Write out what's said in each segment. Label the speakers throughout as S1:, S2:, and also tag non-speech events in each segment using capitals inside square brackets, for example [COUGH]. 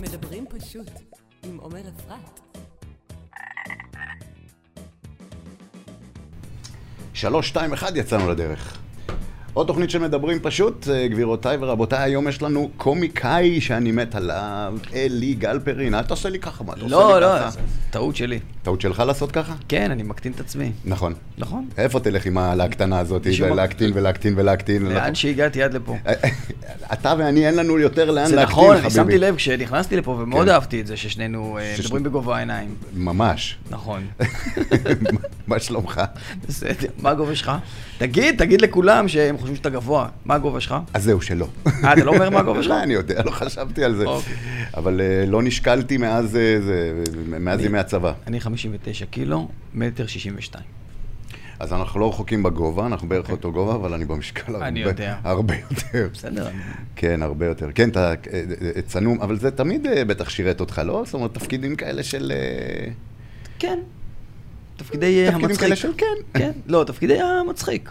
S1: מדברים פשוט עם עומר אפרת.
S2: שלוש, שתיים, אחד יצאנו לדרך. עוד תוכנית שמדברים פשוט, אה, גבירותיי ורבותיי, היום יש לנו קומיקאי שאני מת עליו, אלי גלפרין. אל תעשה לי ככה, מה אתה עושה לי
S3: לא,
S2: ככה?
S3: לא, זה טעות שלי.
S2: טעות שלך לעשות ככה?
S3: כן, אני מקטין את עצמי.
S2: נכון.
S3: נכון.
S2: איפה תלך עם הלהקטנה הזאת,
S3: שום-
S2: להקטין ולהקטין ולהקטין? נכון. אה,
S3: לאן שהגעתי עד לפה.
S2: אתה ואני, אין לנו יותר לאן
S3: זה
S2: להקטין,
S3: נכון,
S2: חביבי.
S3: אני שמתי לב כשנכנסתי לפה, ומאוד
S2: כן.
S3: אהבתי את זה ששנינו אה,
S2: שש-
S3: מדברים בגובה העיניים.
S2: ממש. [LAUGHS]
S3: נכון.
S2: מה שלומך?
S3: [LAUGHS] בסדר. מה הגובה שלך? תגיד, תגיד לכולם שהם חושבים שאתה גבוה. מה הגובה שלך?
S2: אז זהו, שלא.
S3: אה, אתה לא אומר מה
S2: [LAUGHS]
S3: הגובה שלך?
S2: לא, אני יודע, לא חשבתי על זה.
S3: אוקיי.
S2: אבל אה, לא נשקלתי מאז אה, זה- מאז
S3: אני-
S2: ימי הצבא.
S3: אני 59 קילו, מטר 62.
S2: אז אנחנו לא רחוקים בגובה, אנחנו בערך אותו גובה, אבל אני במשקל הרבה,
S3: אני יודע.
S2: הרבה יותר.
S3: בסדר. אני-
S2: כן, הרבה יותר. כן, אתה אה, אה, צנום, אבל זה תמיד אה, בטח שירת אותך, לא? זאת אומרת, תפקידים כאלה של... אה,
S3: כן. תפקידי אה,
S2: תפקידים כאלה
S3: המצחיק.
S2: של כן.
S3: כן, לא, תפקידי המצחיק.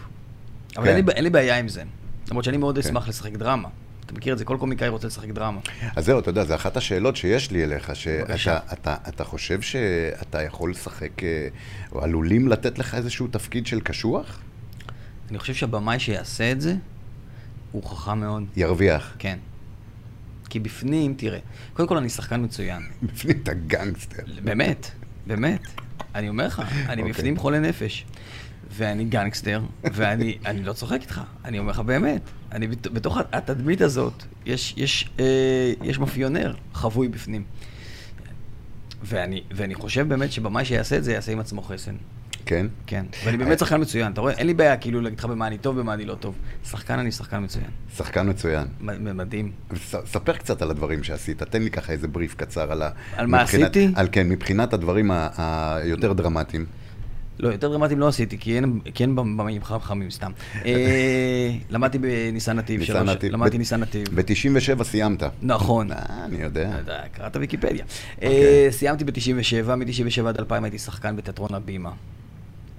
S3: אבל
S2: כן.
S3: אין לי ב- אין לי בעיה עם זה. למרות שאני מאוד
S2: כן.
S3: אשמח לשחק דרמה. אתה מכיר את זה, כל קומיקאי רוצה לשחק דרמה.
S2: אז זהו, אתה יודע, זו אחת השאלות שיש לי אליך, שאתה
S3: בבקשה.
S2: אתה, אתה חושב שאתה יכול לשחק, אה, או עלולים לתת לך איזשהו תפקיד של קשוח?
S3: אני חושב שהבמאי שיעשה את זה, הוא חכם מאוד.
S2: ירוויח. [LAUGHS]
S3: כן. כי בפנים, תראה, קודם כל אני שחקן מצוין.
S2: בפנים אתה גנגסטר.
S3: באמת, באמת. אני אומר לך, אני
S2: אוקיי.
S3: בפנים חולה נפש. ואני גנגסטר, ואני אני לא צוחק איתך, אני אומר לך באמת. אני בת- בתוך התדמית הזאת, יש, יש, אה, יש מאפיונר חבוי בפנים. ואני, ואני חושב באמת שבמאי שיעשה את זה, יעשה עם עצמו חסן.
S2: כן?
S3: כן. ואני באמת שחקן מצוין, אתה רואה? אין לי בעיה כאילו להגיד לך במה אני טוב, במה אני לא טוב. שחקן אני שחקן מצוין.
S2: שחקן מצוין.
S3: מ- מדהים.
S2: ס- ספר קצת על הדברים שעשית, תן לי ככה איזה בריף קצר על ה...
S3: על מה
S2: מבחינת-
S3: עשיתי?
S2: על כן, מבחינת הדברים ה- היותר דרמטיים.
S3: לא, יותר דרמטיים לא עשיתי, כי אין, כי אין במאים חם- חמים סתם. אה,
S2: [LAUGHS]
S3: למדתי בניסן נתיב.
S2: ניסן
S3: שלוש-
S2: נתיב.
S3: למדתי
S2: ב-
S3: ניסן נתיב.
S2: ב-97 סיימת.
S3: נכון.
S2: אה, אני יודע.
S3: אתה יודע, קראת ויקיפדיה.
S2: אוקיי.
S3: אה, סיימתי ב-97, מ-97 עד 2000 הייתי שחקן בתיאטרון הבימה.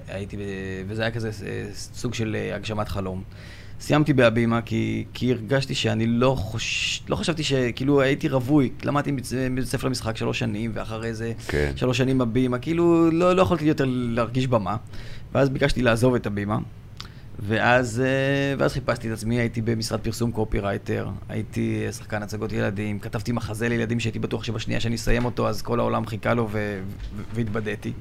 S3: הייתי, ב- וזה היה כזה אה, סוג של אה, הגשמת חלום. סיימתי בהבימה כי, כי הרגשתי שאני לא, חוש... לא חשבתי ש... כאילו הייתי רווי, למדתי בבית- בבית ספר למשחק שלוש שנים, ואחרי זה
S2: כן.
S3: שלוש שנים הבימה, כאילו לא, לא יכולתי יותר להרגיש במה. ואז ביקשתי לעזוב את הבימה, ואז, אה, ואז חיפשתי את עצמי, הייתי במשרד פרסום קופירייטר, הייתי אה, שחקן הצגות ילדים, כתבתי מחזה לילדים שהייתי בטוח שבשנייה שאני אסיים אותו, אז כל העולם חיכה לו ו- ו- והתבדיתי.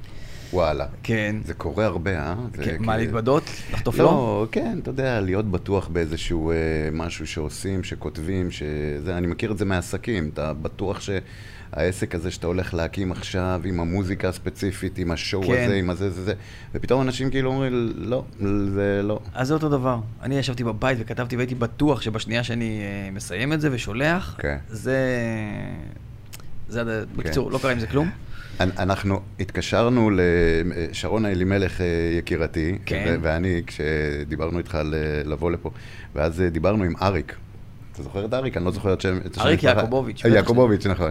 S2: וואלה.
S3: כן.
S2: זה קורה הרבה, אה? זה
S3: כן,
S2: כאילו-
S3: מה, להתוודות? לחטוף לו?
S2: לא, כן, אתה יודע, להיות בטוח באיזשהו אה, משהו שעושים, שכותבים, שזה, אני מכיר את זה מעסקים, אתה בטוח שהעסק הזה שאתה הולך להקים עכשיו, עם המוזיקה הספציפית, עם השואו
S3: כן.
S2: הזה, עם הזה, זה, זה, ופתאום אנשים כאילו אומרים, לא, זה לא.
S3: אז זה אותו דבר. אני ישבתי בבית וכתבתי והייתי בטוח שבשנייה שאני אה, מסיים את זה ושולח,
S2: כן.
S3: זה... זה... הד- בקיצור, לא קרה עם זה כלום.
S2: אנ- אנחנו התקשרנו לשרונה אלימלך אה, יקירתי,
S3: כן.
S2: ו- ואני, כשדיברנו איתך על אה, לבוא לפה, ואז אה, דיברנו עם אריק. אתה זוכר את אריק? אני לא זוכר את שם... את השם
S3: אריק
S2: המשפחה.
S3: יעקובוביץ',
S2: אה,
S3: בטח
S2: יעקובוביץ', נכון.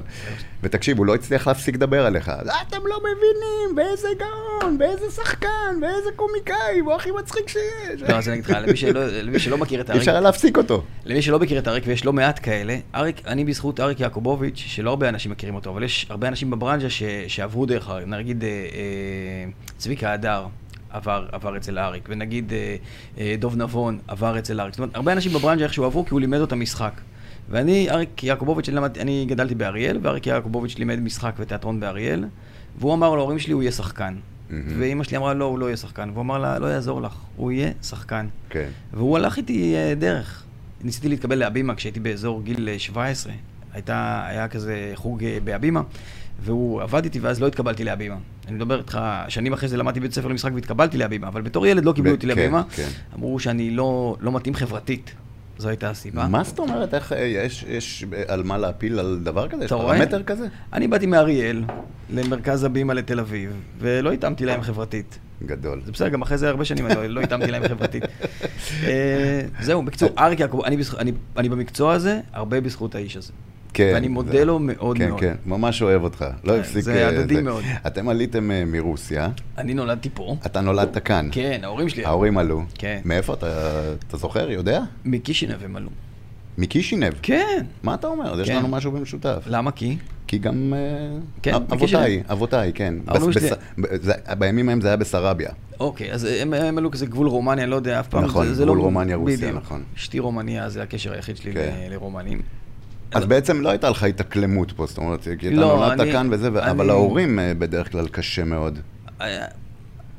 S2: ותקשיב, הוא לא הצליח להפסיק לדבר עליך. אתם לא מבינים, באיזה גאון, באיזה שחקן, באיזה קומיקאי, הוא הכי מצחיק שיש.
S3: לא, אז אני אגיד לך, למי שלא- למי שלא מכיר את
S2: אי אפשר היה
S3: האריק,
S2: להפסיק אותו.
S3: למי שלא מכיר את אריק, ויש לא מעט כאלה, אריק, אני בזכות אריק יעקובוביץ', שלא הרבה אנשים מכירים אותו, אבל יש הרבה אנשים בברנז'ה ש- שעברו דרך אריק, נגיד אה, אה, צביקה הדר. עבר, עבר אצל אריק, ונגיד אה, אה, דוב נבון עבר אצל אריק. זאת אומרת, הרבה אנשים בברנז'ה איכשהו עברו, כי הוא לימד אותם משחק. ואני, אריק יעקובוביץ', אני, למד, אני גדלתי באריאל, ואריק יעקובוביץ' לימד משחק ותיאטרון באריאל, והוא אמר להורים שלי, הוא יהיה שחקן. ואימא שלי אמרה, לא, הוא לא יהיה שחקן. והוא אמר לה, לא יעזור לך, הוא יהיה שחקן.
S2: כן.
S3: והוא הלך איתי אה, דרך. ניסיתי להתקבל להבימה כשהייתי באזור גיל אה, 17. הייתה, היה כזה חוג אה, בהבימה, והוא עבד איתי ואז לא התקבלתי להבימה. אני מדבר איתך, שנים אחרי זה למדתי בית ספר למשחק והתקבלתי להבימה, אבל בתור ילד לא קיבלו
S2: ב-
S3: אותי
S2: כן,
S3: להבימה.
S2: כן.
S3: אמרו שאני לא, לא מתאים חברתית. זו הייתה הסיבה.
S2: מה זאת אומרת, איך אה, יש- יש אה, על מה להפיל על דבר כזה? יש
S3: אתה רואה?
S2: פרמטר כזה?
S3: אני באתי מאריאל למרכז הבימה לתל אביב, ולא התאמתי להם חברתית.
S2: גדול.
S3: זה בסדר, גם אחרי זה הרבה שנים אני לא- לא התאמתי להם חברתית. אה, זהו, בקיצור, אריק יעקב, אני בזכ- אני- אני במקצוע הזה, הרבה בזכות האיש הזה.
S2: כן,
S3: ואני מודה
S2: זה-
S3: לו מאוד
S2: כן,
S3: מאוד.
S2: כן, ממש אוהב אותך. לא
S3: כן,
S2: הפסיק...
S3: זה
S2: אה,
S3: הדדי מאוד.
S2: אתם עליתם אה, מרוסיה,
S3: אני נולדתי פה.
S2: אתה נולדת כאן.
S3: כן, ההורים שלי.
S2: ההורים עלו.
S3: כן.
S2: מאיפה אתה, אתה זוכר? יודע?
S3: מקישינב הם עלו.
S2: מקישינב.
S3: כן.
S2: מה אתה אומר? אז יש
S3: כן.
S2: לנו משהו במשותף.
S3: למה כי?
S2: כי גם... אה,
S3: כן,
S2: אב-
S3: מקישינב.
S2: אבותיי, אבותיי, כן.
S3: ההורים
S2: בס-
S3: שלי-
S2: בס- ב- זה- בימים ההם זה היה בסרביה.
S3: אוקיי, אז הם, הם עלו כזה גבול רומניה, לא יודע, אף פעם.
S2: נכון,
S3: זה, זה
S2: גבול
S3: לא...
S2: רומניה, רוסיה,
S3: בדיוק.
S2: נכון.
S3: אשתי רומניה, זה הקשר היחיד שלי
S2: כן.
S3: ל- לרומנים.
S2: אז
S3: לא.
S2: בעצם לא הייתה לך התאקלמות פה, זאת אומרת, כי אתה
S3: לא,
S2: נולדת
S3: אני-
S2: כאן וזה, ו-
S3: אני-
S2: אבל ההורים אה, בדרך כלל קשה מאוד.
S3: היה- אה,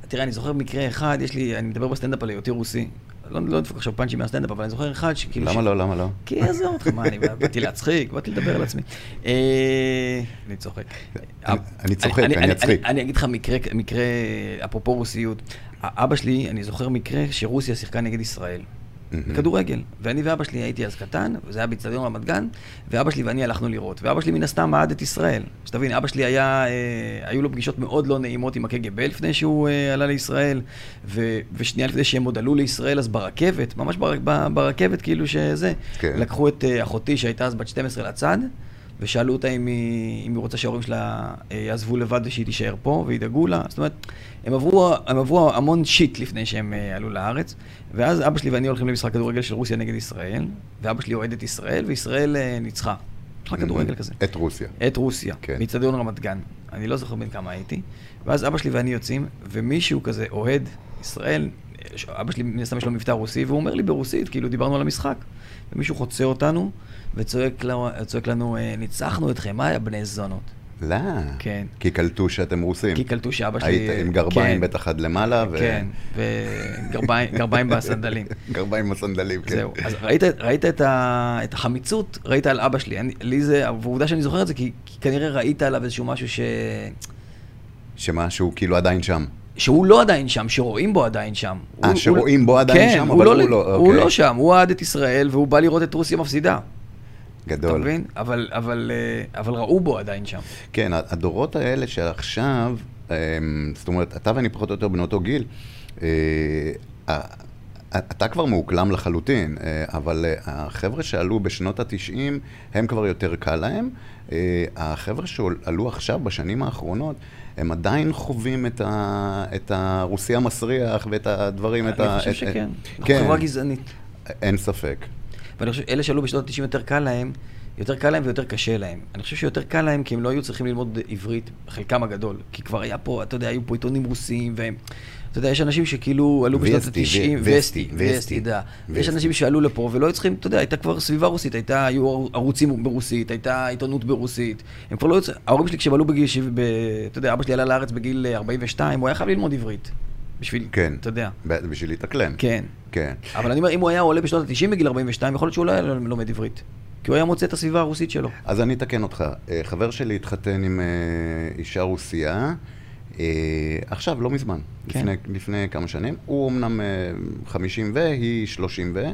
S3: תראה, אני זוכר מקרה אחד, יש לי, אני מדבר בסטנדאפ על היותי רוסי. לא לא נדפוק עכשיו פאנצ'ים מהסטנדאפ, אבל אני זוכר אחד שכאילו...
S2: למה
S3: כאילו ש-
S2: לא? למה לא? [LAUGHS]
S3: כי עזוב אותך, מה, אני באתי להצחיק, באתי לדבר על עצמי. אה, אני צוחק.
S2: אני- אני צוחק, אני אצחיק.
S3: אני אגיד לך מקרה, מקרה, אפרופו רוסיות. אבא שלי, אני זוכר מקרה שרוסיה שיחקה נגד ישראל.
S2: מהמם.
S3: בכדורגל. ואני ואבא שלי הייתי אז קטן, וזה היה באיצטדיון רמת גן, ואבא שלי ואני הלכנו לראות. ואבא שלי מן הסתם אהד את ישראל. שתבין, אבא שלי היה, אה, היו לו פגישות מאוד לא נעימות עם הקג"ב לפני שהוא אה, עלה לישראל, ו, ושנייה לפני שהם עוד עלו לישראל, אז ברכבת, ממש בר, ב- ברכבת כאילו שזה,
S2: כן.
S3: לקחו את אה, אחותי שהייתה אז בת 12 לצד. ושאלו אותה אם היא, אם היא רוצה שההורים שלה אה, יעזבו לבד ושהיא תישאר פה וידאגו לה. זאת אומרת, הם עברו, הם עברו המון שיט לפני שהם אה, עלו לארץ. ואז אבא שלי ואני הולכים למשחק כדורגל של רוסיה נגד ישראל, ואבא שלי אוהד את ישראל, וישראל אה, ניצחה. משחק כדורגל כזה.
S2: את רוסיה.
S3: את רוסיה,
S2: כן.
S3: באיצטדיון רמת גן. אני לא זוכר בן כמה הייתי. ואז אבא שלי ואני יוצאים, ומישהו כזה אוהד ישראל, ש- אבא שלי מן הסתם יש לו מבטא רוסי, והוא אומר לי ברוסית, כאילו דיברנו על המשחק. ומישהו חוצה אותנו, וצועק לנו, צועק לנו אה, ניצחנו אתכם, מה היה בני זונות?
S2: לא.
S3: כן.
S2: כי קלטו שאתם רוסים.
S3: כי קלטו שאבא
S2: כן.
S3: שלי...
S2: היית עם גרביים
S3: כן,
S2: בטח עד למעלה. ו- כן.
S3: כן,
S2: [LAUGHS]
S3: וגרביים בסנדלים.
S2: גרביים בסנדלים, כן.
S3: זהו, אז ראית, ראית את, ה, את החמיצות, ראית על אבא שלי. אני, לי זה, ועובדה שאני זוכר את זה, כי, כי כנראה ראית עליו איזשהו משהו ש,
S2: שמה, שהוא כאילו עדיין שם.
S3: שהוא לא עדיין שם, שרואים בו עדיין שם.
S2: אה,
S3: הוא-
S2: שרואים
S3: הוא-
S2: בו עדיין
S3: כן,
S2: שם, אבל הוא לא,
S3: הוא
S2: אוקיי.
S3: לא שם, הוא אוהד את ישראל, והוא בא לראות את רוסיה מפסידה. אתה
S2: גדול.
S3: מבין? אבל, אבל, אה, אבל ראו בו עדיין שם.
S2: כן, הדורות האלה שעכשיו, אמ, זאת אומרת, אתה ואני פחות או יותר בני אותו גיל, אה, ה- אתה כבר מאוקלם לחלוטין, אה, אבל אה, החבר'ה שעלו בשנות התשעים, הם כבר יותר קל להם. אה, החבר'ה שעלו עכשיו, בשנים האחרונות, הם עדיין חווים את, ה, את הרוסי המסריח ואת הדברים, את ה...
S3: אני חושב
S2: את-
S3: שכן. אנחנו
S2: כן,
S3: חברה גזענית.
S2: אין ספק.
S3: ואני חושב שאלה שעלו בשנות ה-90 יותר קל להם, יותר קל להם ויותר קשה להם. אני חושב שיותר קל להם כי הם לא היו צריכים ללמוד עברית, חלקם הגדול. כי כבר היה פה, אתה יודע, היו פה עיתונים רוסיים, והם... אתה יודע, יש אנשים שכאילו עלו בשנות
S2: וסטי,
S3: ה-90,
S2: ו-
S3: וסטי,
S2: וסטי,
S3: וסטי,
S2: וסטי.
S3: וסטי, יודע. יש
S2: וסטי.
S3: אנשים שעלו לפה ולא היו צריכים, אתה יודע, הייתה כבר סביבה רוסית, הייתה, היו ערוצים ברוסית, הייתה עיתונות ברוסית. הם כבר לא היו צריכים, ההורים שלי כשהם עלו בגיל, שבע- ב- אתה יודע, אבא שלי עלה לארץ בגיל אה, 42, הוא היה חייב ללמוד עברית. בשביל,
S2: כן.
S3: אתה יודע.
S2: ב- בשביל להתאקלם.
S3: כן.
S2: כן.
S3: אבל אני אומר, אם הוא היה עולה בשנות ה-90 בגיל 42, יכול להיות שהוא לא היה לומד עברית. כי הוא היה מוצא את הסביבה הרוסית שלו.
S2: אז אני אתקן אותך. אה, חבר שלי התחתן עם אה, אישה רוסייה, אה, עכשיו, לא מזמן,
S3: כן.
S2: לפני, לפני כמה שנים. הוא אמנם אה, 50 והיא 30 ו...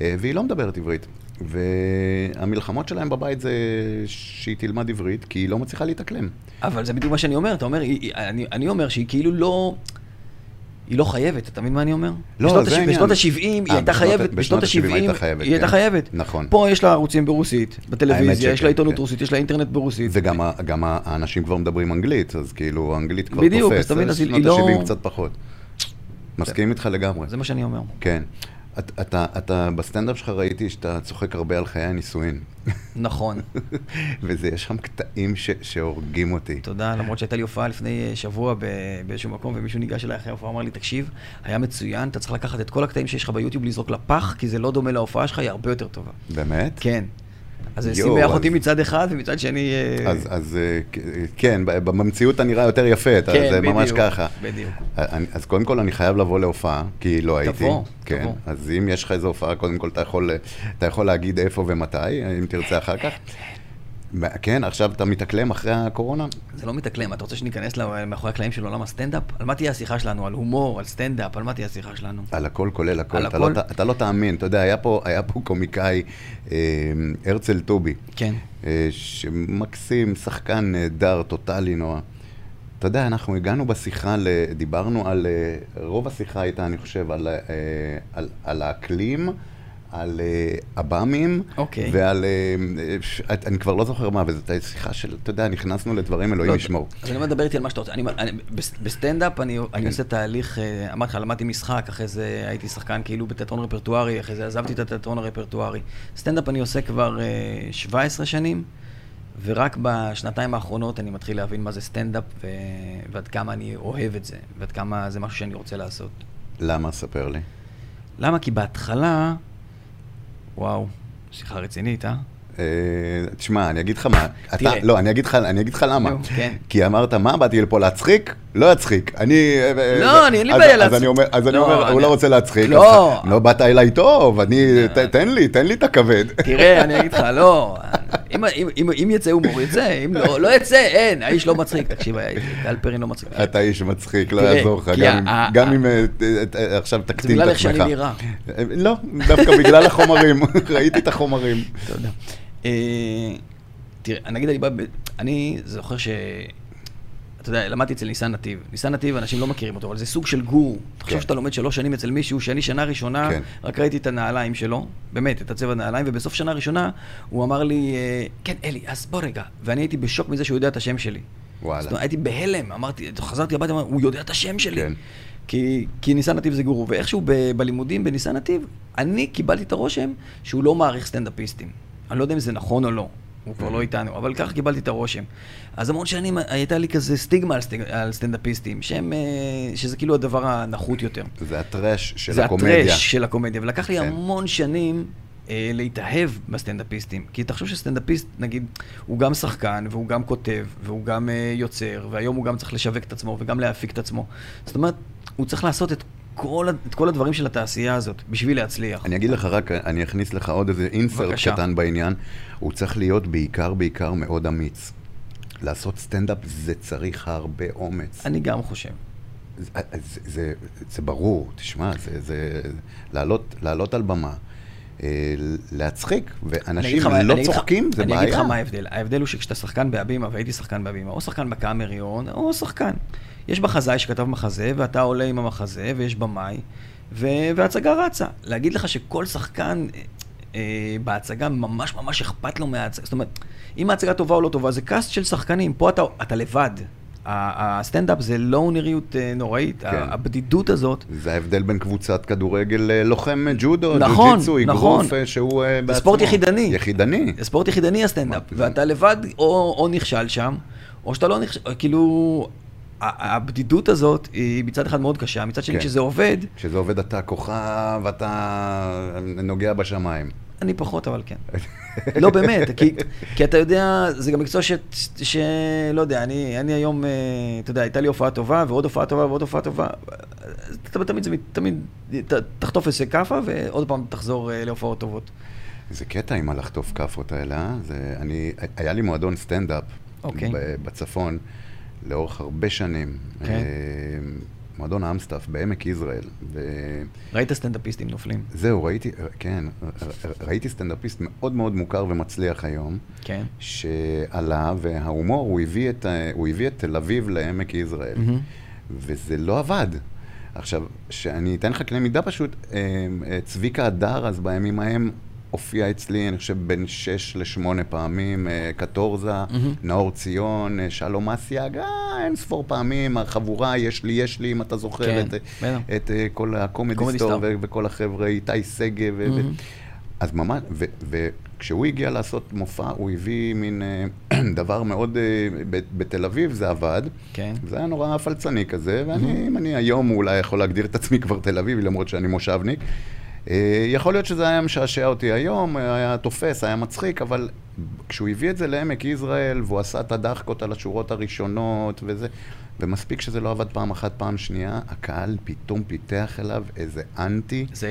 S2: אה, והיא לא מדברת עברית. והמלחמות שלהם בבית זה שהיא תלמד עברית, כי היא לא מצליחה להתאקלם.
S3: אבל זה בדיוק מה שאני אומר, אתה אומר, היא- היא- אני, אני אומר שהיא כאילו לא... היא לא חייבת, אתה מבין מה אני אומר?
S2: לא,
S3: בשנות
S2: זה
S3: הש-
S2: העניין.
S3: בשנות ה-70 היא
S2: אה,
S3: הייתה
S2: בשנות ה-
S3: חייבת,
S2: בשנות
S3: בשנות
S2: ה- 70
S3: ה-70
S2: הייתה חייבת,
S3: היא הייתה
S2: כן.
S3: חייבת.
S2: נכון.
S3: פה יש לה ערוצים ברוסית, בטלוויזיה, יש
S2: שכן,
S3: לה עיתונות
S2: כן.
S3: רוסית, יש לה אינטרנט ברוסית.
S2: וגם ה- גם ה- האנשים כבר מדברים אנגלית, אז כאילו האנגלית כבר
S3: בדיוק,
S2: תופס.
S3: אז אתה מבין, אז היא-
S2: שנות
S3: היא לא-
S2: ה-70 קצת פחות. מסכים איתך לגמרי.
S3: זה מה שאני אומר.
S2: כן. את- אתה, אתה, בסטנדאפ שלך ראיתי שאתה צוחק הרבה על חיי הנישואין. [LAUGHS]
S3: נכון,
S2: וזה, יש שם קטעים ש, שהורגים אותי.
S3: תודה, למרות שהייתה לי הופעה לפני אה, שבוע ב- באיזשהו מקום, ומישהו ניגש אליי אחרי ההופעה, אמר לי, תקשיב, היה מצוין, אתה צריך לקחת את כל הקטעים שיש לך ביוטיוב, לזרוק לפח, כי זה לא דומה להופעה שלך, היא הרבה יותר טובה.
S2: באמת?
S3: כן. אז
S2: יואו,
S3: שימח אותי
S2: אז-
S3: מצד אחד, ומצד שני... אה,
S2: אז, אז אה, כ- כן, ב- במציאות אתה נראה יותר יפה, אתה,
S3: כן,
S2: זה ממש
S3: בדיוק,
S2: ככה.
S3: בדיוק.
S2: אני- אז קודם כל אני חייב לבוא להופעה, כי לא הייתי.
S3: תבוא,
S2: כן,
S3: תבוא.
S2: אז אם יש לך איזו הופעה, קודם כל אתה יכול, אתה יכול להגיד איפה ומתי, אם תרצה אחר כך. כן, עכשיו אתה מתאקלם אחרי הקורונה?
S3: זה לא מתאקלם, אתה רוצה שניכנס ל- מאחורי הקלעים של עולם הסטנדאפ? על מה תהיה השיחה שלנו? על הומור, על סטנדאפ, על מה תהיה השיחה שלנו?
S2: על הכל כולל הכל.
S3: על
S2: אתה, לא,
S3: הכל?
S2: ת- אתה לא תאמין, אתה יודע, היה פה, היה פה קומיקאי, אה, הרצל טובי,
S3: כן.
S2: אה, שמקסים, שחקן נהדר, טוטאלי נועה. אתה יודע, אנחנו הגענו בשיחה, ל... דיברנו על... אה, רוב השיחה הייתה, אני חושב, על, אה, על, על האקלים על אה, עב"מים,
S3: אוקיי.
S2: ועל... אה, אה, ש- את- אני כבר לא זוכר מה, אבל זאת הייתה שיחה של, אתה יודע, נכנסנו לדברים, אלוהים
S3: לא,
S2: ישמור.
S3: אז אני אומר, דבר איתי על מה שאתה רוצה. אני- אני- בס- בסטנדאפ אני אני עושה תהליך, אה, אמרתי לך, למדתי משחק, אחרי זה הייתי שחקן כאילו בתיאטרון רפרטוארי, אחרי זה עזבתי את התיאטרון הרפרטוארי. סטנדאפ אני עושה כבר אה, 17 שנים, ורק בשנתיים האחרונות אני מתחיל להבין מה זה סטנדאפ, ו- ועד כמה אני אוהב את זה, ועד כמה זה משהו שאני רוצה לעשות.
S2: למה? ספר לי.
S3: למה? כי בהתחלה, וואו, שיחה רצינית, אה?
S2: אה, תשמע, אני אגיד לך מה, אתה,
S3: תראה.
S2: לא, אני אגיד לך, אני אגיד לך למה.
S3: נו, כן.
S2: כי אמרת, מה, באתי לפה להצחיק? לא אצחיק. אני... אה, אה,
S3: לא,
S2: אה,
S3: אני, אין לי
S2: אז-
S3: בעיה
S2: אז
S3: להצחיק.
S2: אני אומר- אז אני
S3: לא,
S2: אומר, הוא
S3: אני-
S2: לא רוצה להצחיק.
S3: לא.
S2: אז לא באת אליי טוב, אני... ת- תן לי, תן לי את הכבד.
S3: תראה, אני אגיד לך, לא, אם, אם, אם, אם יצא הומור, יצא, אם לא, לא יצא, אין, האיש לא מצחיק, תקשיב, אלפרין לא מצחיק.
S2: אתה איש מצחיק, לא
S3: תראה,
S2: יעזור לך,
S3: כי
S2: גם אם-
S3: ה-
S2: גם
S3: ה-
S2: אם אה, אה, אה, עכשיו תקטין את עצמך.
S3: בגלל איך שאני נראה.
S2: אה, לא, דווקא בגלל החומרים, [LAUGHS] ראיתי את החומרים.
S3: תודה. אה, תראה, נגיד אני בא, ב- אני זוכר ש... אתה יודע, למדתי אצל ניסן נתיב. ניסן נתיב, אנשים לא מכירים אותו, אבל זה סוג של גורו. תחשוב
S2: כן.
S3: שאתה לומד שלוש שנים אצל מישהו, שאני שנה ראשונה,
S2: כן.
S3: רק ראיתי את הנעליים שלו, באמת, את הצבע הנעליים, ובסוף שנה ראשונה הוא אמר לי, אה, כן, אלי, אז בוא רגע. ואני הייתי בשוק מזה שהוא יודע את השם שלי.
S2: וואלה.
S3: זאת אומרת, הייתי בהלם, אמרתי, חזרתי הביתה, אמרתי, הוא יודע את השם שלי.
S2: כן.
S3: כי, כי ניסן נתיב זה גורו, ואיכשהו ב, בלימודים בניסן נתיב, אני קיבלתי את הרושם שהוא לא מעריך סטנדאפיסטים. אני לא יודע אם זה נכון או לא, הוא כבר לא איתנו, אבל ככה קיבלתי את הרושם. אז המון שנים הייתה לי כזה סטיגמה על, סטיג, על סטנדאפיסטים, שהם, אה, שזה כאילו הדבר הנחות יותר.
S2: זה הטרש של
S3: זה
S2: הקומדיה.
S3: הטרש של הקומדיה, ולקח לי
S2: כן.
S3: המון שנים אה, להתאהב בסטנדאפיסטים. כי תחשוב שסטנדאפיסט, נגיד, הוא גם שחקן, והוא גם כותב, והוא גם אה, יוצר, והיום הוא גם צריך לשווק את עצמו, וגם להפיק את עצמו. זאת אומרת, הוא צריך לעשות את כל, ה- את כל הדברים של התעשייה הזאת, בשביל להצליח.
S2: אני אגיד לך רק, אני אכניס לך עוד איזה אינסרט
S3: בבקשה.
S2: קטן בעניין. הוא צריך להיות בעיקר, בעיקר מאוד אמיץ. לעשות סטנדאפ זה צריך הרבה אומץ.
S3: אני גם חושב.
S2: זה, זה, זה, זה ברור, תשמע, זה, זה לעלות, לעלות על במה, אה, להצחיק,
S3: אני אגיד
S2: ואנשים
S3: לך מה-
S2: לא
S3: אני אגיד לך-
S2: צוחקים, זה בעיה.
S3: אני אגיד לך מה ההבדל. ההבדל הוא שכשאתה שחקן בהבימה, והייתי שחקן בהבימה, או שחקן בקאמריון, או שחקן. יש בחזאי שכתב מחזה, ואתה עולה עם המחזה, ויש במאי, ו- וההצגה רצה. להגיד לך שכל שחקן אה, אה, בהצגה ממש ממש אכפת לו מההצגה. זאת אומרת, אם ההצגה טובה או לא טובה, זה קאסט של שחקנים. פה אתה, אתה לבד. ה- הסטנדאפ זה לונריות אה, נוראית.
S2: כן.
S3: הבדידות הזאת,
S2: זה ההבדל בין קבוצת כדורגל אה, לוחם ג'ודו,
S3: נכון,
S2: ג'ו-ג'יצו,
S3: נכון.
S2: אגרוף, אה, שהוא אה, בעצמו.
S3: זה ספורט יחידני.
S2: יחידני.
S3: ספורט יחידני הסטנדאפ,
S2: מה, זה-
S3: ואתה לבד או, או נכשל שם, או שאתה לא נכשל, כאילו, ה- הבדידות הזאת היא מצד אחד מאוד קשה, מצד שני
S2: כן.
S3: כשזה עובד,
S2: כשזה עובד אתה כוכב, אתה נוגע בשמיים.
S3: אני פחות, אבל
S2: [LAUGHS]
S3: כן. לא באמת, כי, כי אתה יודע, זה גם מקצוע ש... ש לא יודע, אני, אני היום, אה, אתה יודע, הייתה לי הופעה טובה, ועוד הופעה טובה, ועוד הופעה טובה. אז אתה תמיד, זה מת- תמיד, ת, תחטוף איזה כאפה, ועוד פעם תחזור אה, להופעות טובות.
S2: זה קטע עם הלחטוף כאפות האלה, אה? זה, אני, היה לי מועדון סטנדאפ
S3: אוקיי.
S2: ב- בצפון לאורך הרבה שנים.
S3: כן.
S2: אה, מועדון האמסטאף בעמק יזרעאל. וזהו,
S3: ראית סטנדאפיסטים נופלים.
S2: ראיתי, כן, ר- ר- ראיתי סטנדאפיסט מאוד מאוד מוכר ומצליח היום,
S3: כן.
S2: שעלה, וההומור, הוא הביא את, ה- הוא הביא את תל אביב לעמק יזרעאל.
S3: מהמם.
S2: וזה לא עבד. עכשיו, שאני אתן לך קנה מידה פשוט, אה, אה, צביקה הדר אז בימים ההם הופיע אצלי, אני חושב, בין שש לשמונה פעמים, אה, קטורזה,
S3: מהמם.
S2: נאור ציון, אה, שלום אסיאג, אה, אין ספור פעמים, החבורה, יש לי, יש לי, אם אתה זוכר,
S3: כן,
S2: את,
S3: בטח.
S2: את אה, כל
S3: קומדי
S2: הקומדי
S3: סטאר.
S2: סטור ו- וכל החבר'ה, איתי שגב, ו- ו-
S3: מהמם.
S2: אז ממש, ו- וכשהוא הגיע לעשות מופע, הוא הביא מין אה, [CLEARS THROAT] דבר מאוד, אה, ב- בתל אביב זה עבד.
S3: כן.
S2: זה היה נורא פלצני כזה, ואני, אם אני היום אולי יכול להגדיר את עצמי כבר תל אביבי, למרות שאני מושבניק. אה, יכול להיות שזה היה משעשע אותי היום, אה, היה תופס, היה מצחיק, אבל כשהוא הביא את זה לעמק יזרעאל, והוא עשה את הדחקות על השורות הראשונות וזה, ומספיק שזה לא עבד פעם אחת, פעם שנייה, הקהל פתאום פיתח אליו איזה אנטי.
S3: זה...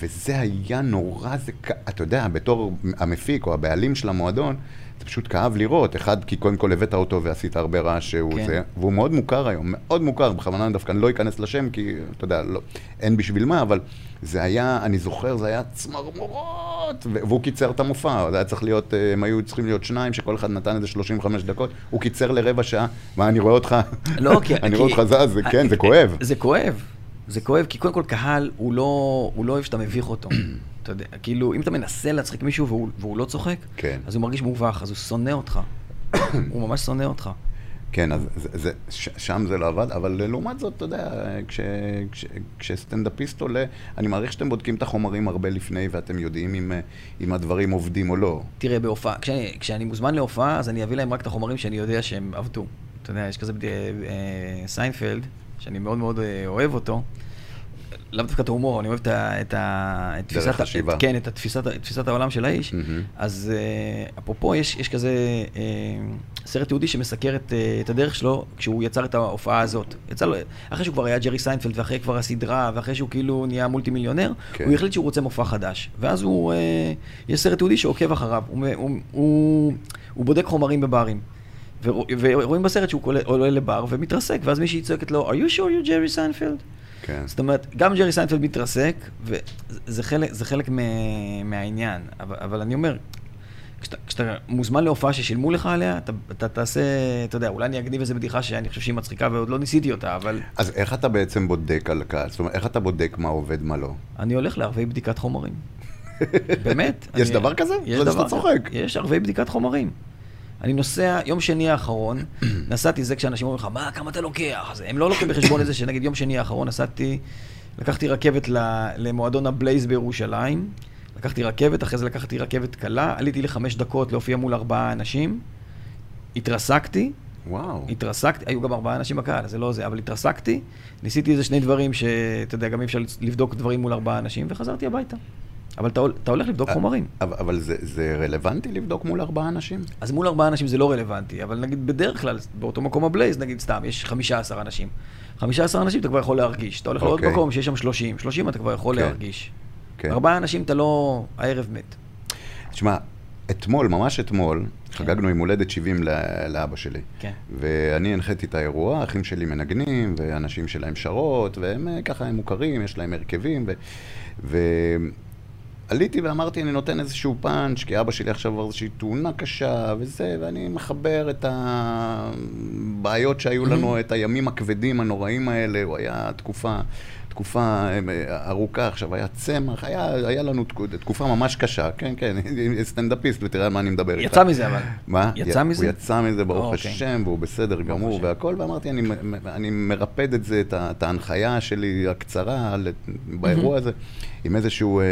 S2: וזה היה נורא, זה, כ- אתה יודע, בתור המפיק או הבעלים של המועדון, זה פשוט כאב לראות. אחד, כי קודם כל הבאת אותו ועשית הרבה רעש שהוא
S3: כן.
S2: כן. זה, והוא מאוד מוכר היום, מאוד מוכר, בכוונה אני דווקא אני לא אכנס לשם, כי, אתה יודע, לא, אין בשביל מה, אבל זה היה, אני זוכר, זה היה צמרמורות, ו- והוא קיצר את המופע, זה היה צריך להיות, אה, הם היו צריכים להיות שניים, שכל אחד נתן איזה 35 דקות, הוא קיצר לרבע שעה, מה, אני רואה אותך,
S3: לא,
S2: [LAUGHS]
S3: כי...
S2: אני רואה
S3: כי-
S2: אותך זז, זה- כן, זה כואב.
S3: זה כואב. זה כואב, כי קודם כל קהל, הוא לא, הוא לא אוהב שאתה מביך
S2: [CLEARS THROAT]
S3: אותו. אתה יודע, כאילו, אם אתה מנסה להצחיק מישהו והוא, והוא לא צוחק,
S2: כן.
S3: אז הוא מרגיש מובך, אז הוא שונא
S2: [CLEARS THROAT]
S3: אותך. הוא ממש שונא אותך.
S2: כן, אז זה, זה, ש, שם זה לא עבד, אבל לעומת זאת, אתה יודע, כש, כש, כשסטנדאפיסט עולה, אני מעריך שאתם בודקים את החומרים הרבה לפני ואתם יודעים אם, אה, אם הדברים עובדים או לא.
S3: תראה, בהופעה, כשאני, כשאני מוזמן להופעה, אז אני אביא להם רק את החומרים שאני יודע שהם עבדו. אתה יודע, יש כזה בדי- אה, סיינפלד, שאני מאוד מאוד אה, אוהב אותו. לאו דווקא את ההומור, אני אוהב את, ה, את, ה, את
S2: דרך
S3: תפיסת, ה-
S2: חשיבה.
S3: את, כן, את התפיסת, ה- את תפיסת העולם של האיש.
S2: מהמם.
S3: אז אה, אפרופו, יש, יש כזה אה, סרט יהודי שמסקר את, אה, את הדרך שלו כשהוא יצר את ההופעה הזאת. יצא לו, אחרי שהוא כבר היה ג'רי סיינפלד, ואחרי כבר הסדרה, ואחרי שהוא כאילו נהיה מולטי מיליונר,
S2: כן.
S3: כן. הוא החליט שהוא רוצה מופע חדש. ואז הוא, אה, יש סרט יהודי שעוקב אחריו, הוא, מ- הוא, הוא, הוא בודק חומרים בברים. ורוא- ורואים בסרט שהוא כולל- עולה לבר ומתרסק, ואז מישהי צועקת לו, are you sure you're ג'רי סיינפלד?
S2: כן.
S3: זאת אומרת, גם ג'רי סיינפלד מתרסק, וזה חלק, זה חלק מ- מהעניין. אבל, אבל אני אומר, כשאתה, כשאתה מוזמן להופעה ששילמו לך עליה, אתה, אתה תעשה, אתה יודע, אולי אני אגניב איזה בדיחה שאני חושב שהיא מצחיקה ועוד לא ניסיתי אותה, אבל
S2: אז איך אתה בעצם בודק על קהל? זאת אומרת, איך אתה בודק מה עובד, מה לא?
S3: אני הולך לערבי בדיקת חומרים.
S2: [LAUGHS]
S3: באמת.
S2: יש
S3: אני-
S2: דבר כזה?
S3: יש
S2: לא,
S3: דבר
S2: שאתה צוחק.
S3: יש ערבי בדיקת חומרים. אני נוסע, יום
S2: [CLEARS THROAT]
S3: שני האחרון, נסעתי, זה כשאנשים אומרים לך, מה, כמה אתה לוקח? אז הם לא לוקחים בחשבון את זה שנגיד יום שני האחרון נסעתי, לקחתי רכבת ל- למועדון הבלייז בירושלים, לקחתי רכבת, אחרי זה לקחתי רכבת קלה, עליתי לחמש דקות להופיע מול ארבעה אנשים, התרסקתי,
S2: וואו.
S3: התרסקתי, היו גם ארבעה אנשים בקהל, אז זה לא זה, אבל התרסקתי, ניסיתי איזה שני דברים שאתה יודע, גם אי אפשר לבדוק דברים מול ארבעה אנשים, וחזרתי הביתה. אבל אתה, הול- אתה הולך
S2: אה.
S3: לבדוק חומרים.
S2: אבל, אבל זה, זה רלוונטי לבדוק מול ארבעה אנשים?
S3: אז מול ארבעה אנשים זה לא רלוונטי, אבל נגיד בדרך כלל, באותו מקום הבלייז, נגיד סתם, יש 15 אנשים. 15 אנשים אתה כבר יכול להרגיש. אתה הולך לעוד
S2: אוקיי.
S3: מקום שיש שם 30, 30 אתה כבר יכול
S2: כן.
S3: להרגיש.
S2: כן.
S3: ארבעה אנשים אתה לא... הערב מת.
S2: תשמע, אתמול, ממש אתמול, חגגנו יום הולדת 70 ל- לאבא שלי.
S3: כן.
S2: ואני הנחיתי את האירוע, אחים שלי מנגנים, ואנשים שלהם שרות, והם אה, ככה, הם מוכרים, יש להם הרכבים, ו... ועליתי ואמרתי, אני נותן איזשהו פאנץ', כי אבא שלי עכשיו עבר איזושהי תאונה קשה, וזה, ואני מחבר את הבעיות שהיו לנו, את הימים הכבדים, הנוראים האלה, הוא היה תקופה, תקופה אה, ארוכה, עכשיו היה צמח, היה, היה לנו תק- תקופה ממש קשה, כן, כן, [LAUGHS] סטנדאפיסט, ותראה על מה אני מדבר איתך.
S3: יצא מזה אבל.
S2: מה?
S3: יצא
S2: י-
S3: מזה?
S2: הוא יצא מזה, ברוך
S3: אה, אוקיי.
S2: השם, והוא בסדר גמור
S3: השם.
S2: והכל, ואמרתי, אני, מ- מ- אני מרפד את זה, את, ה- את ההנחיה שלי הקצרה על- באירוע הזה, עם איזשהו, אה,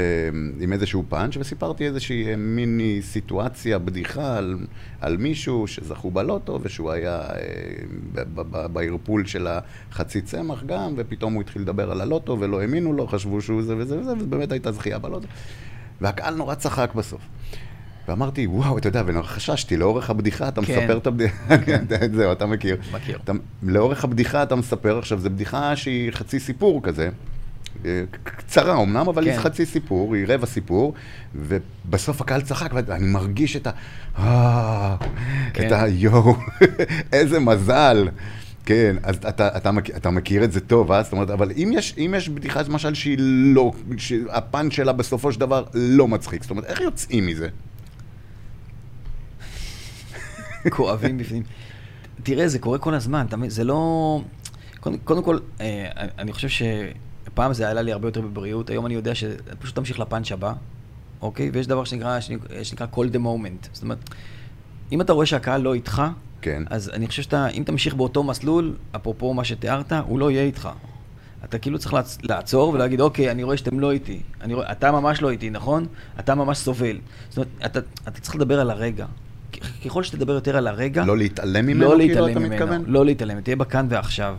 S2: עם איזשהו פאנץ', וסיפרתי איזושהי אה, מיני סיטואציה, בדיחה על, על מישהו שזכו בלוטו, ושהוא היה אה, ב- ב- ב- בערפול של החצי צמח גם, ופתאום הוא התחיל לדבר על הלוטו, ולא האמינו לו, חשבו שהוא זה וזה וזה, ובאמת הייתה זכייה בלוטו. והקהל נורא צחק בסוף. ואמרתי, וואו, אתה יודע, ונורא חששתי, לאורך הבדיחה אתה
S3: כן.
S2: מספר את הבדיחה, [LAUGHS] את זהו, אתה מכיר.
S3: מכיר.
S2: אתה, לאורך הבדיחה אתה מספר, עכשיו, זו בדיחה שהיא חצי סיפור כזה. אה, ק- קצרה אמנם, אבל
S3: כן.
S2: היא חצי סיפור, היא רבע סיפור, ובסוף הקהל צחק, ואני מרגיש את ה... אה,
S3: כן.
S2: את ה... יואו, [LAUGHS] איזה מזל. כן, אז אתה, אתה, מכיר, אתה מכיר את זה טוב, אה? זאת אומרת, אבל אם יש, אם יש בדיחה, למשל, שהיא לא, שהפן שלה בסופו של דבר לא מצחיק, זאת אומרת, איך יוצאים מזה?
S3: כואבים בפנים. תראה, זה קורה כל הזמן, אתה מבין? זה לא... קודם, קודם כל, אה, אני חושב שפעם זה עלה לי הרבה יותר בבריאות, היום אני יודע שפשוט תמשיך לפאנץ' הבא, אוקיי? ויש דבר שנקרא, שנקרא, שנקרא call the moment. זאת אומרת, אם אתה רואה שהקהל לא איתך,
S2: כן.
S3: אז אני חושב שאתה, אם תמשיך באותו מסלול, אפרופו מה שתיארת, הוא לא יהיה איתך. אתה כאילו צריך לעצ- לעצור ולהגיד, אוקיי, אני רואה שאתם לא איתי. אני רואה, אתה ממש לא איתי, נכון? אתה ממש סובל. זאת אומרת, אתה, אתה צריך לדבר על הרגע. כ- ככל שתדבר יותר על הרגע...
S2: לא להתעלם ממנו,
S3: לא
S2: כאילו,
S3: להתעלם
S2: אתה
S3: ממנו,
S2: מתכוון?
S3: לא להתעלם, תהיה בכאן ועכשיו.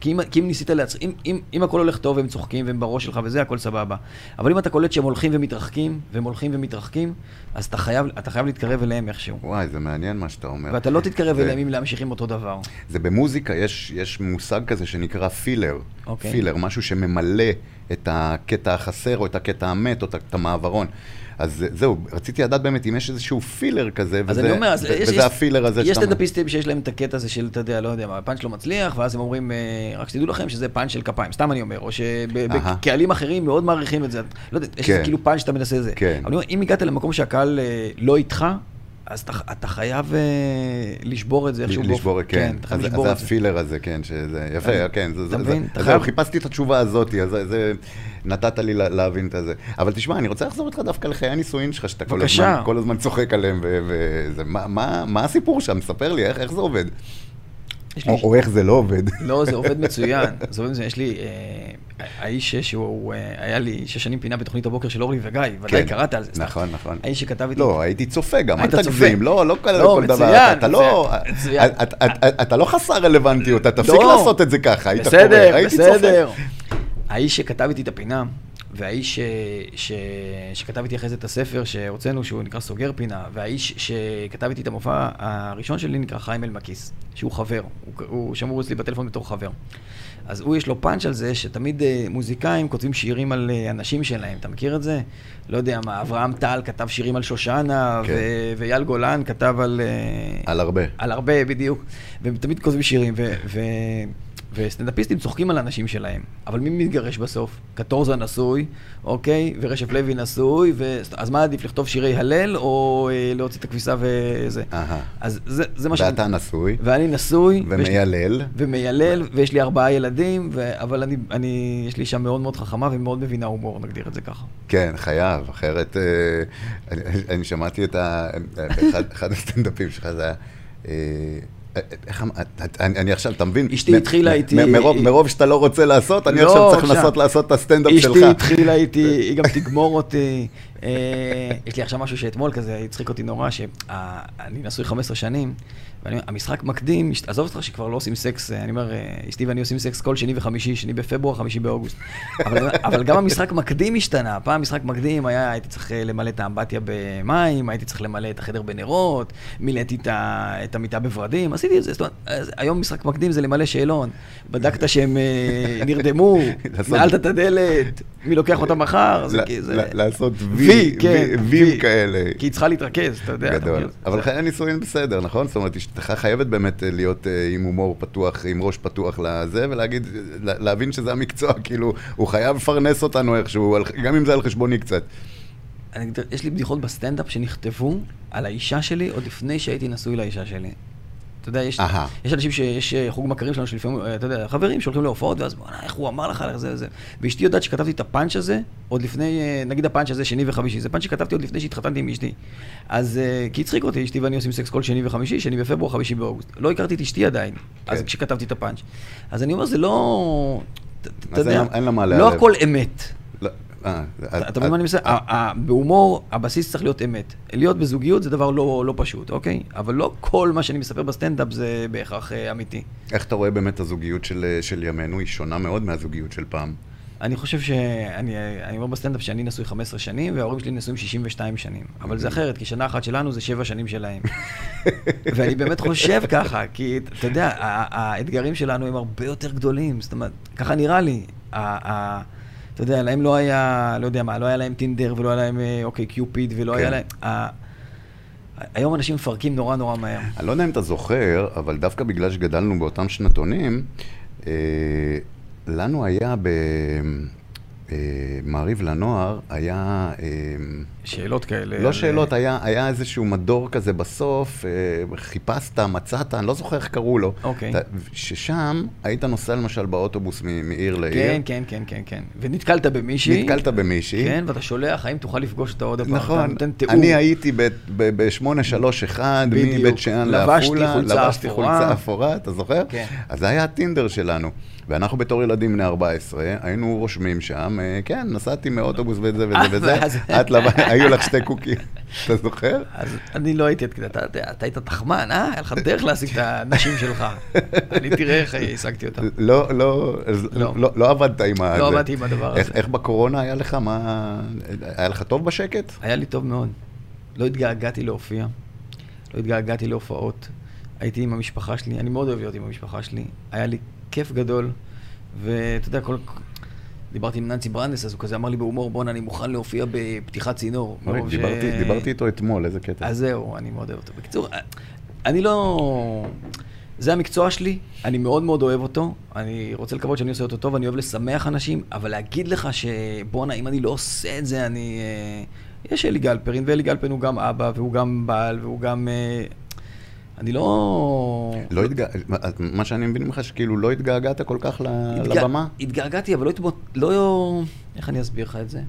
S3: כי אם, כי אם ניסית להצחיק, אם, אם, אם הכל הולך טוב והם צוחקים והם בראש שלך וזה, הכל סבבה. אבל אם אתה קולט שהם הולכים ומתרחקים, והם הולכים ומתרחקים, אז אתה חייב, אתה חייב להתקרב אליהם איכשהו.
S2: וואי, זה מעניין מה שאתה אומר.
S3: ואתה לא תתקרב
S2: זה-
S3: אליהם אם להמשיך עם אותו דבר.
S2: זה במוזיקה, יש, יש מושג כזה שנקרא פילר.
S3: אוקיי.
S2: פילר, משהו שממלא את הקטע החסר, או את הקטע המת, או את- את המעברון. אז זה- זהו, רציתי לדעת באמת אם יש איזשהו פילר כזה,
S3: אז
S2: וזה,
S3: אני אומר, אז
S2: ו-
S3: יש,
S2: וזה
S3: יש-
S2: הפילר הזה
S3: יש
S2: שאתה... אומר.
S3: סטנדאפיסטים שיש להם את הקטע הזה של, אתה יודע, לא יודע מה, הפאנץ' לא מצליח, ואז הם אומרים, אה, רק שתדעו לכם שזה פאנץ' של כפיים, סתם אני אומר, או
S2: אהה.
S3: שבקהלים אחרים מאוד מעריכים את זה, לא יודע, יש איזה
S2: כן.
S3: כאילו פאנץ' שאתה מנסה זה.
S2: כן.
S3: אבל אני אומר, אם הגעת למקום שהקהל אה, לא איתך, אז אתה, אתה חייב אה, לשבור את זה איכשהו.
S2: לשבור,
S3: באופן-
S2: כן.
S3: אתה חייב
S2: אז
S3: לשבור
S2: זה
S3: את זה.
S2: הפילר הזה, כן, שזה יפה,
S3: אתה-
S2: כן. זה-
S3: אתה
S2: זה-
S3: מבין?
S2: זה-
S3: אתה
S2: אז
S3: חייב-
S2: זהו, חיפשתי את התשובה הזאת, אז זה- זה... נתת לי לה- להבין את הזה. אבל תשמע, אני רוצה לחזור איתך דווקא לחיי הנישואין שלך, שאתה כל
S3: בבקשה.
S2: הזמן- כל הזמן צוחק עליהם, ו- וזה... מה- מה מה הסיפור שם? ספר לי, איך איך זה עובד?
S3: יש לי-
S2: או או איך זה לא עובד.
S3: לא, זה
S2: [LAUGHS]
S3: עובד מצוין. זה עובד מצוין. יש לי... אה, האיש שהוא... אה, היה לי שש שנים פינה בתוכנית הבוקר של אורלי וגיא,
S2: [LAUGHS]
S3: ודאי
S2: כן.
S3: לא, קראת על זה. סתם.
S2: נכון, נכון.
S3: האיש שכתב איתי...
S2: לא, הייתי צופה גם, אל
S3: היית צופה.
S2: תגזים, לא, לא כל
S3: לא,
S2: כל דבר,
S3: מצוין,
S2: אתה- אתה לא,
S3: מצוין, מצוין.
S2: את- את- את- אתה לא חסר רלוונטיות, אתה תפסיק
S3: לא.
S2: לעשות את זה ככה, היית קורא,
S3: בסדר,
S2: הייתי צופה.
S3: בסדר. האיש שכתב איתי את הפינה, והאיש ש... ש... שכתב איתי אחרי זה את הספר שהוצאנו, שהוא נקרא סוגר פינה, והאיש שכתב איתי את המופע הראשון שלי נקרא חיים אלמקיס, שהוא חבר, הוא, הוא שמור אצלי בטלפון בתור חבר. אז הוא יש לו פאנץ' על זה שתמיד אה, מוזיקאים כותבים שירים על אה, אנשים שלהם, אתה מכיר את זה? לא יודע מה, אברהם טל כתב שירים על שושנה,
S2: כן.
S3: כן. ואייל גולן כתב על... אה,
S2: על הרבה.
S3: על הרבה, בדיוק. והם תמיד כותבים שירים, ו- ו- וסטנדאפיסטים צוחקים על האנשים שלהם. אבל מי מתגרש בסוף? קטורזה נשוי, אוקיי? ורשף לוי נשוי, ו... אז מה עדיף, לכתוב שירי הלל, או אה, להוציא את הכביסה וזה?
S2: אהה.
S3: אז זה, זה מה ש...
S2: ואתה נשוי,
S3: ואני נשוי. ויש לי-
S2: ומיילל.
S3: ומיילל, ויש לי ארבעה ילדים, ו... אבל אני, אני, יש לי אישה מאוד מאוד חכמה ומאוד מבינה הומור, נגדיר את זה ככה.
S2: כן, חייב, אחרת... אה, אני, אני שמעתי את ה... אחד, אחד הסטנדאפים שלך, זה היה... אה, איך אמ- את- אני, אני עכשיו, אתה מבין?
S3: אשתי
S2: מ-
S3: התחילה
S2: מ-
S3: איתי-
S2: מ- מרוב, מרוב שאתה לא רוצה לעשות, אני
S3: לא,
S2: עכשיו צריך
S3: עכשיו.
S2: לנסות לעשות את הסטנדאפ שלך. כן.
S3: אשתי התחילה איתי, היא גם תגמור אותי. אה, יש לי עכשיו משהו שאתמול כזה הצחיק אותי נורא, שאני נשוי 15 שנים, והמשחק מקדים, אשת- עזוב אותך שכבר לא עושים סקס, אה, אני אומר, אה, אשתי ואני עושים סקס כל שני וחמישי, שני בפברואר, חמישי באוגוסט. אבל- אבל גם המשחק מקדים השתנה, פעם משחק מקדים היה, הייתי צריך אה, למלא את האמבטיה במים, הייתי צריך למלא את החדר בנרות, מילאתי את ה- את המיטה בוורדים, עשיתי את זה, זאת אומרת, אז היום משחק מקדים זה למלא שאלון, בדקת שהם אה,
S2: [LAUGHS]
S3: נרדמו,
S2: לעשות-
S3: נעלת את הדלת, מי לוקח אותה מחר, זה
S2: ל-
S3: כי זה...
S2: ל- לעשות וי,
S3: וי, כן,
S2: וי- וים
S3: וי.
S2: כאלה.
S3: כי היא צריכה להתרכז, אתה יודע. אתה
S2: גדול.
S3: מכיר את זה.
S2: אבל חיי הנישואין בסדר, נכון? זאת אומרת, אשתך חייבת באמת אה, להיות אה, עם הומור פתוח, עם ראש פתוח לזה, ולהגיד, לה- להבין שזה המקצוע, [LAUGHS] כאילו, הוא חייב לפרנס אותנו איכשהו, על- גם אם זה על חשבוני קצת.
S3: אני- יש לי בדיחות בסטנדאפ שנכתבו על האישה שלי עוד לפני שהייתי נשוי לאישה שלי. אתה יודע, יש,
S2: אהה.
S3: יש אנשים שיש אה, חוג מכרים שלנו שלפעמים, אה, אתה יודע, חברים שהולכים להופעות, ואז בואנה, איך הוא אמר לך על זה וזה. ואשתי יודעת שכתבתי את הפאנץ' הזה עוד לפני, אה, נגיד הפאנץ' הזה שני וחמישי, זה פאנץ' שכתבתי עוד לפני שהתחתנתי עם אשתי. אז, אה, כי הצחיק אותי, אשתי ואני עושים סקס כל שני וחמישי, שני בפברואר, חמישי באוגוסט. לא הכרתי את אשתי עדיין, אז
S2: כן.
S3: כשכתבתי את הפאנץ'. אז אני אומר, זה לא... ת- אתה
S2: אז אין
S3: יודע,
S2: לה- אין לה מה
S3: לא
S2: להיעלב.
S3: הכל אמת.
S2: לא, אה, את-
S3: אתה אתה מבין מה
S2: את- אה.
S3: אני אה. מסתכל? בהומור הבסיס צריך להיות אמת. להיות בזוגיות זה דבר לא לא פשוט, אוקיי? אבל לא כל מה שאני מספר בסטנדאפ זה בהכרח אה, אמיתי.
S2: איך אתה רואה באמת הזוגיות של, אה, של ימינו? היא שונה מאוד מהזוגיות של פעם.
S3: אני חושב שאני אני אומר בסטנדאפ שאני נשוי 15 שנים, וההורים שלי נשואים 62 שנים. אבל זה אחרת, כי שנה אחת שלנו זה שבע שנים [LAUGHS] שלהם. ואני באמת חושב ככה, כי אתה יודע, ה- ה- האתגרים שלנו הם הרבה יותר גדולים. זאת אומרת, ככה נראה לי. ה- ה- אתה יודע, להם לא היה, לא יודע מה, לא היה להם טינדר ולא היה להם אה, אוקיי קיופיד ולא
S2: כן.
S3: היה להם... ה- היום אנשים מפרקים נורא נורא מהר.
S2: אני לא יודע אם אתה זוכר, אבל דווקא בגלל שגדלנו באותם שנתונים, אה, לנו היה במעריב לנוער, היה... אה,
S3: שאלות כאלה.
S2: לא
S3: על-
S2: שאלות, היה, היה איזשהו מדור כזה בסוף, אה, חיפשת, מצאת, אני לא זוכר איך קראו לו.
S3: אוקיי.
S2: אתה- ששם היית נוסע למשל באוטובוס מ- מעיר לעיר.
S3: כן, כן, כן, כן, כן. ונתקלת במישהי.
S2: אה, נתקלת במישהי.
S3: כן, ואתה שולח, האם תוכל לפגוש אותה עוד פעם? אתה
S2: נכון,
S3: נותן תיאור.
S2: אני הייתי ב-831
S3: בדיוק.
S2: מבית שאן
S3: לבשתי
S2: לעפולה,
S3: חולצה
S2: לבשתי
S3: אפורה.
S2: חולצה אפורה, אתה זוכר?
S3: כן.
S2: אז זה היה הטינדר שלנו. ואנחנו בתור ילדים בני 14, היינו רושמים שם, אה, כן, נסעתי מאוטובוס וזה וזה
S3: אה, ואז-
S2: וזה, את לבן, [LAUGHS] היו לך שתי קוקים, אתה זוכר?
S3: אז אני לא הייתי עד כדי, אתה יודע, אתה היית תחמן, אה? היה לך דרך להשיג את הנשים
S2: [LAUGHS]
S3: שלך. אני תראה איך השגתי אותם.
S2: לא, לא, אז
S3: לא.
S2: לא, לא עבדת עם ה...
S3: לא
S2: זה.
S3: עבדתי עם הדבר
S2: איך,
S3: הזה.
S2: איך בקורונה היה לך? מה... היה לך טוב בשקט?
S3: היה לי טוב מאוד. לא התגעגעתי להופיע, לא התגעגעתי להופעות. הייתי עם המשפחה שלי, אני מאוד אוהב להיות עם המשפחה שלי. היה לי כיף גדול, ואתה יודע, כל... דיברתי עם ננסי ברנדס, אז הוא כזה אמר לי בהומור, בואנה, אני מוכן להופיע בפתיחת צינור.
S2: אורי,
S3: מרוב ש-
S2: אוקיי, דיברתי, דיברתי איתו אתמול, איזה קטע.
S3: אז זהו, אני מאוד אוהב אותו. בקיצור, אה, אני לא... זה המקצוע שלי, אני מאוד מאוד אוהב אותו, אני רוצה לקוות שאני עושה אותו טוב, אני אוהב לשמח אנשים, אבל להגיד לך שבואנה, אם אני לא עושה את זה, אני... אה, יש אלי גלפרין, ואלי גלפרין הוא גם אבא, והוא גם בעל, והוא גם... אה, אני לא...
S2: לא התגע... מה שאני מבין ממך, שכאילו לא התגעגעת כל כך ל-
S3: התגע-
S2: לבמה?
S3: התגעגעתי, אבל לא התמות... לא... איך אני אסביר לך את זה?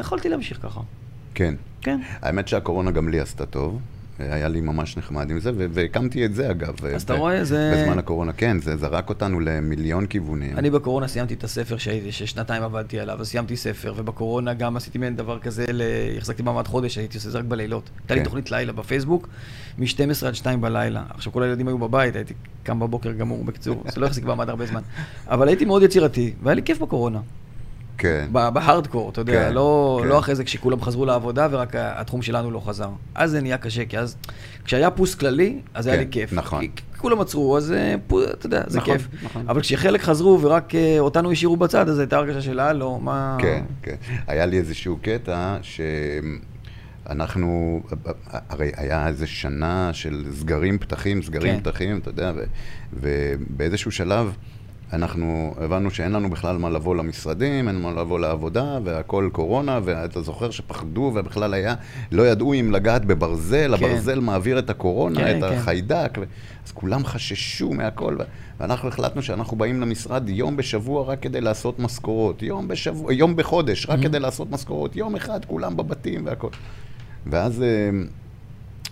S3: יכולתי להמשיך ככה.
S2: כן.
S3: כן.
S2: האמת שהקורונה גם לי עשתה טוב. היה לי ממש נחמד עם זה, ו- והקמתי את זה אגב. ב-
S3: אז אתה רואה, זה-
S2: בזמן הקורונה, כן, זה זרק אותנו למיליון כיוונים.
S3: אני בקורונה סיימתי את הספר שהייתי, ששנתיים עבדתי עליו, אז סיימתי ספר, ובקורונה גם עשיתי מעין דבר כזה, ל... החזקתי מעמד חודש, הייתי עושה את זה רק בלילות. הייתה לי
S2: כן.
S3: תוכנית לילה בפייסבוק, מ-12 עד 2 בלילה. עכשיו כל הילדים היו בבית, הייתי קם בבוקר גמור, בקיצור, [LAUGHS] זה לא החזיק מעמד הרבה זמן. אבל הייתי מאוד יצירתי, והיה לי כיף בקורונה.
S2: כן.
S3: ב- בהארדקור, אתה יודע,
S2: כן,
S3: לא,
S2: כן.
S3: לא אחרי זה כשכולם חזרו לעבודה ורק ה- התחום שלנו לא חזר. אז זה נהיה קשה, כי אז כשהיה פוס כללי, אז היה
S2: כן,
S3: לי כיף.
S2: נכון.
S3: כי, כי כולם עצרו, אז אה, פו, אתה יודע, זה
S2: נכון,
S3: כיף.
S2: נכון.
S3: אבל כשחלק חזרו ורק אה, אותנו השאירו בצד, אז הייתה הרגשה של הלו, מה...
S2: כן, כן. היה לי איזשהו קטע שאנחנו, הרי היה איזה שנה של סגרים פתחים, סגרים
S3: כן.
S2: פתחים, אתה יודע, ו, ובאיזשהו שלב אנחנו הבנו שאין לנו בכלל מה לבוא למשרדים, אין מה לבוא לעבודה, והכל קורונה, ואתה זוכר שפחדו, ובכלל היה, לא ידעו אם לגעת בברזל,
S3: כן.
S2: הברזל מעביר את הקורונה,
S3: כן,
S2: את
S3: כן.
S2: החיידק, ו... אז כולם חששו מהכל, ו- ואנחנו החלטנו שאנחנו באים למשרד יום בשבוע רק כדי לעשות משכורות, יום בשבוע, יום בחודש,
S3: Mm-hmm.
S2: רק כדי לעשות משכורות, יום אחד כולם בבתים והכל. ואז אה,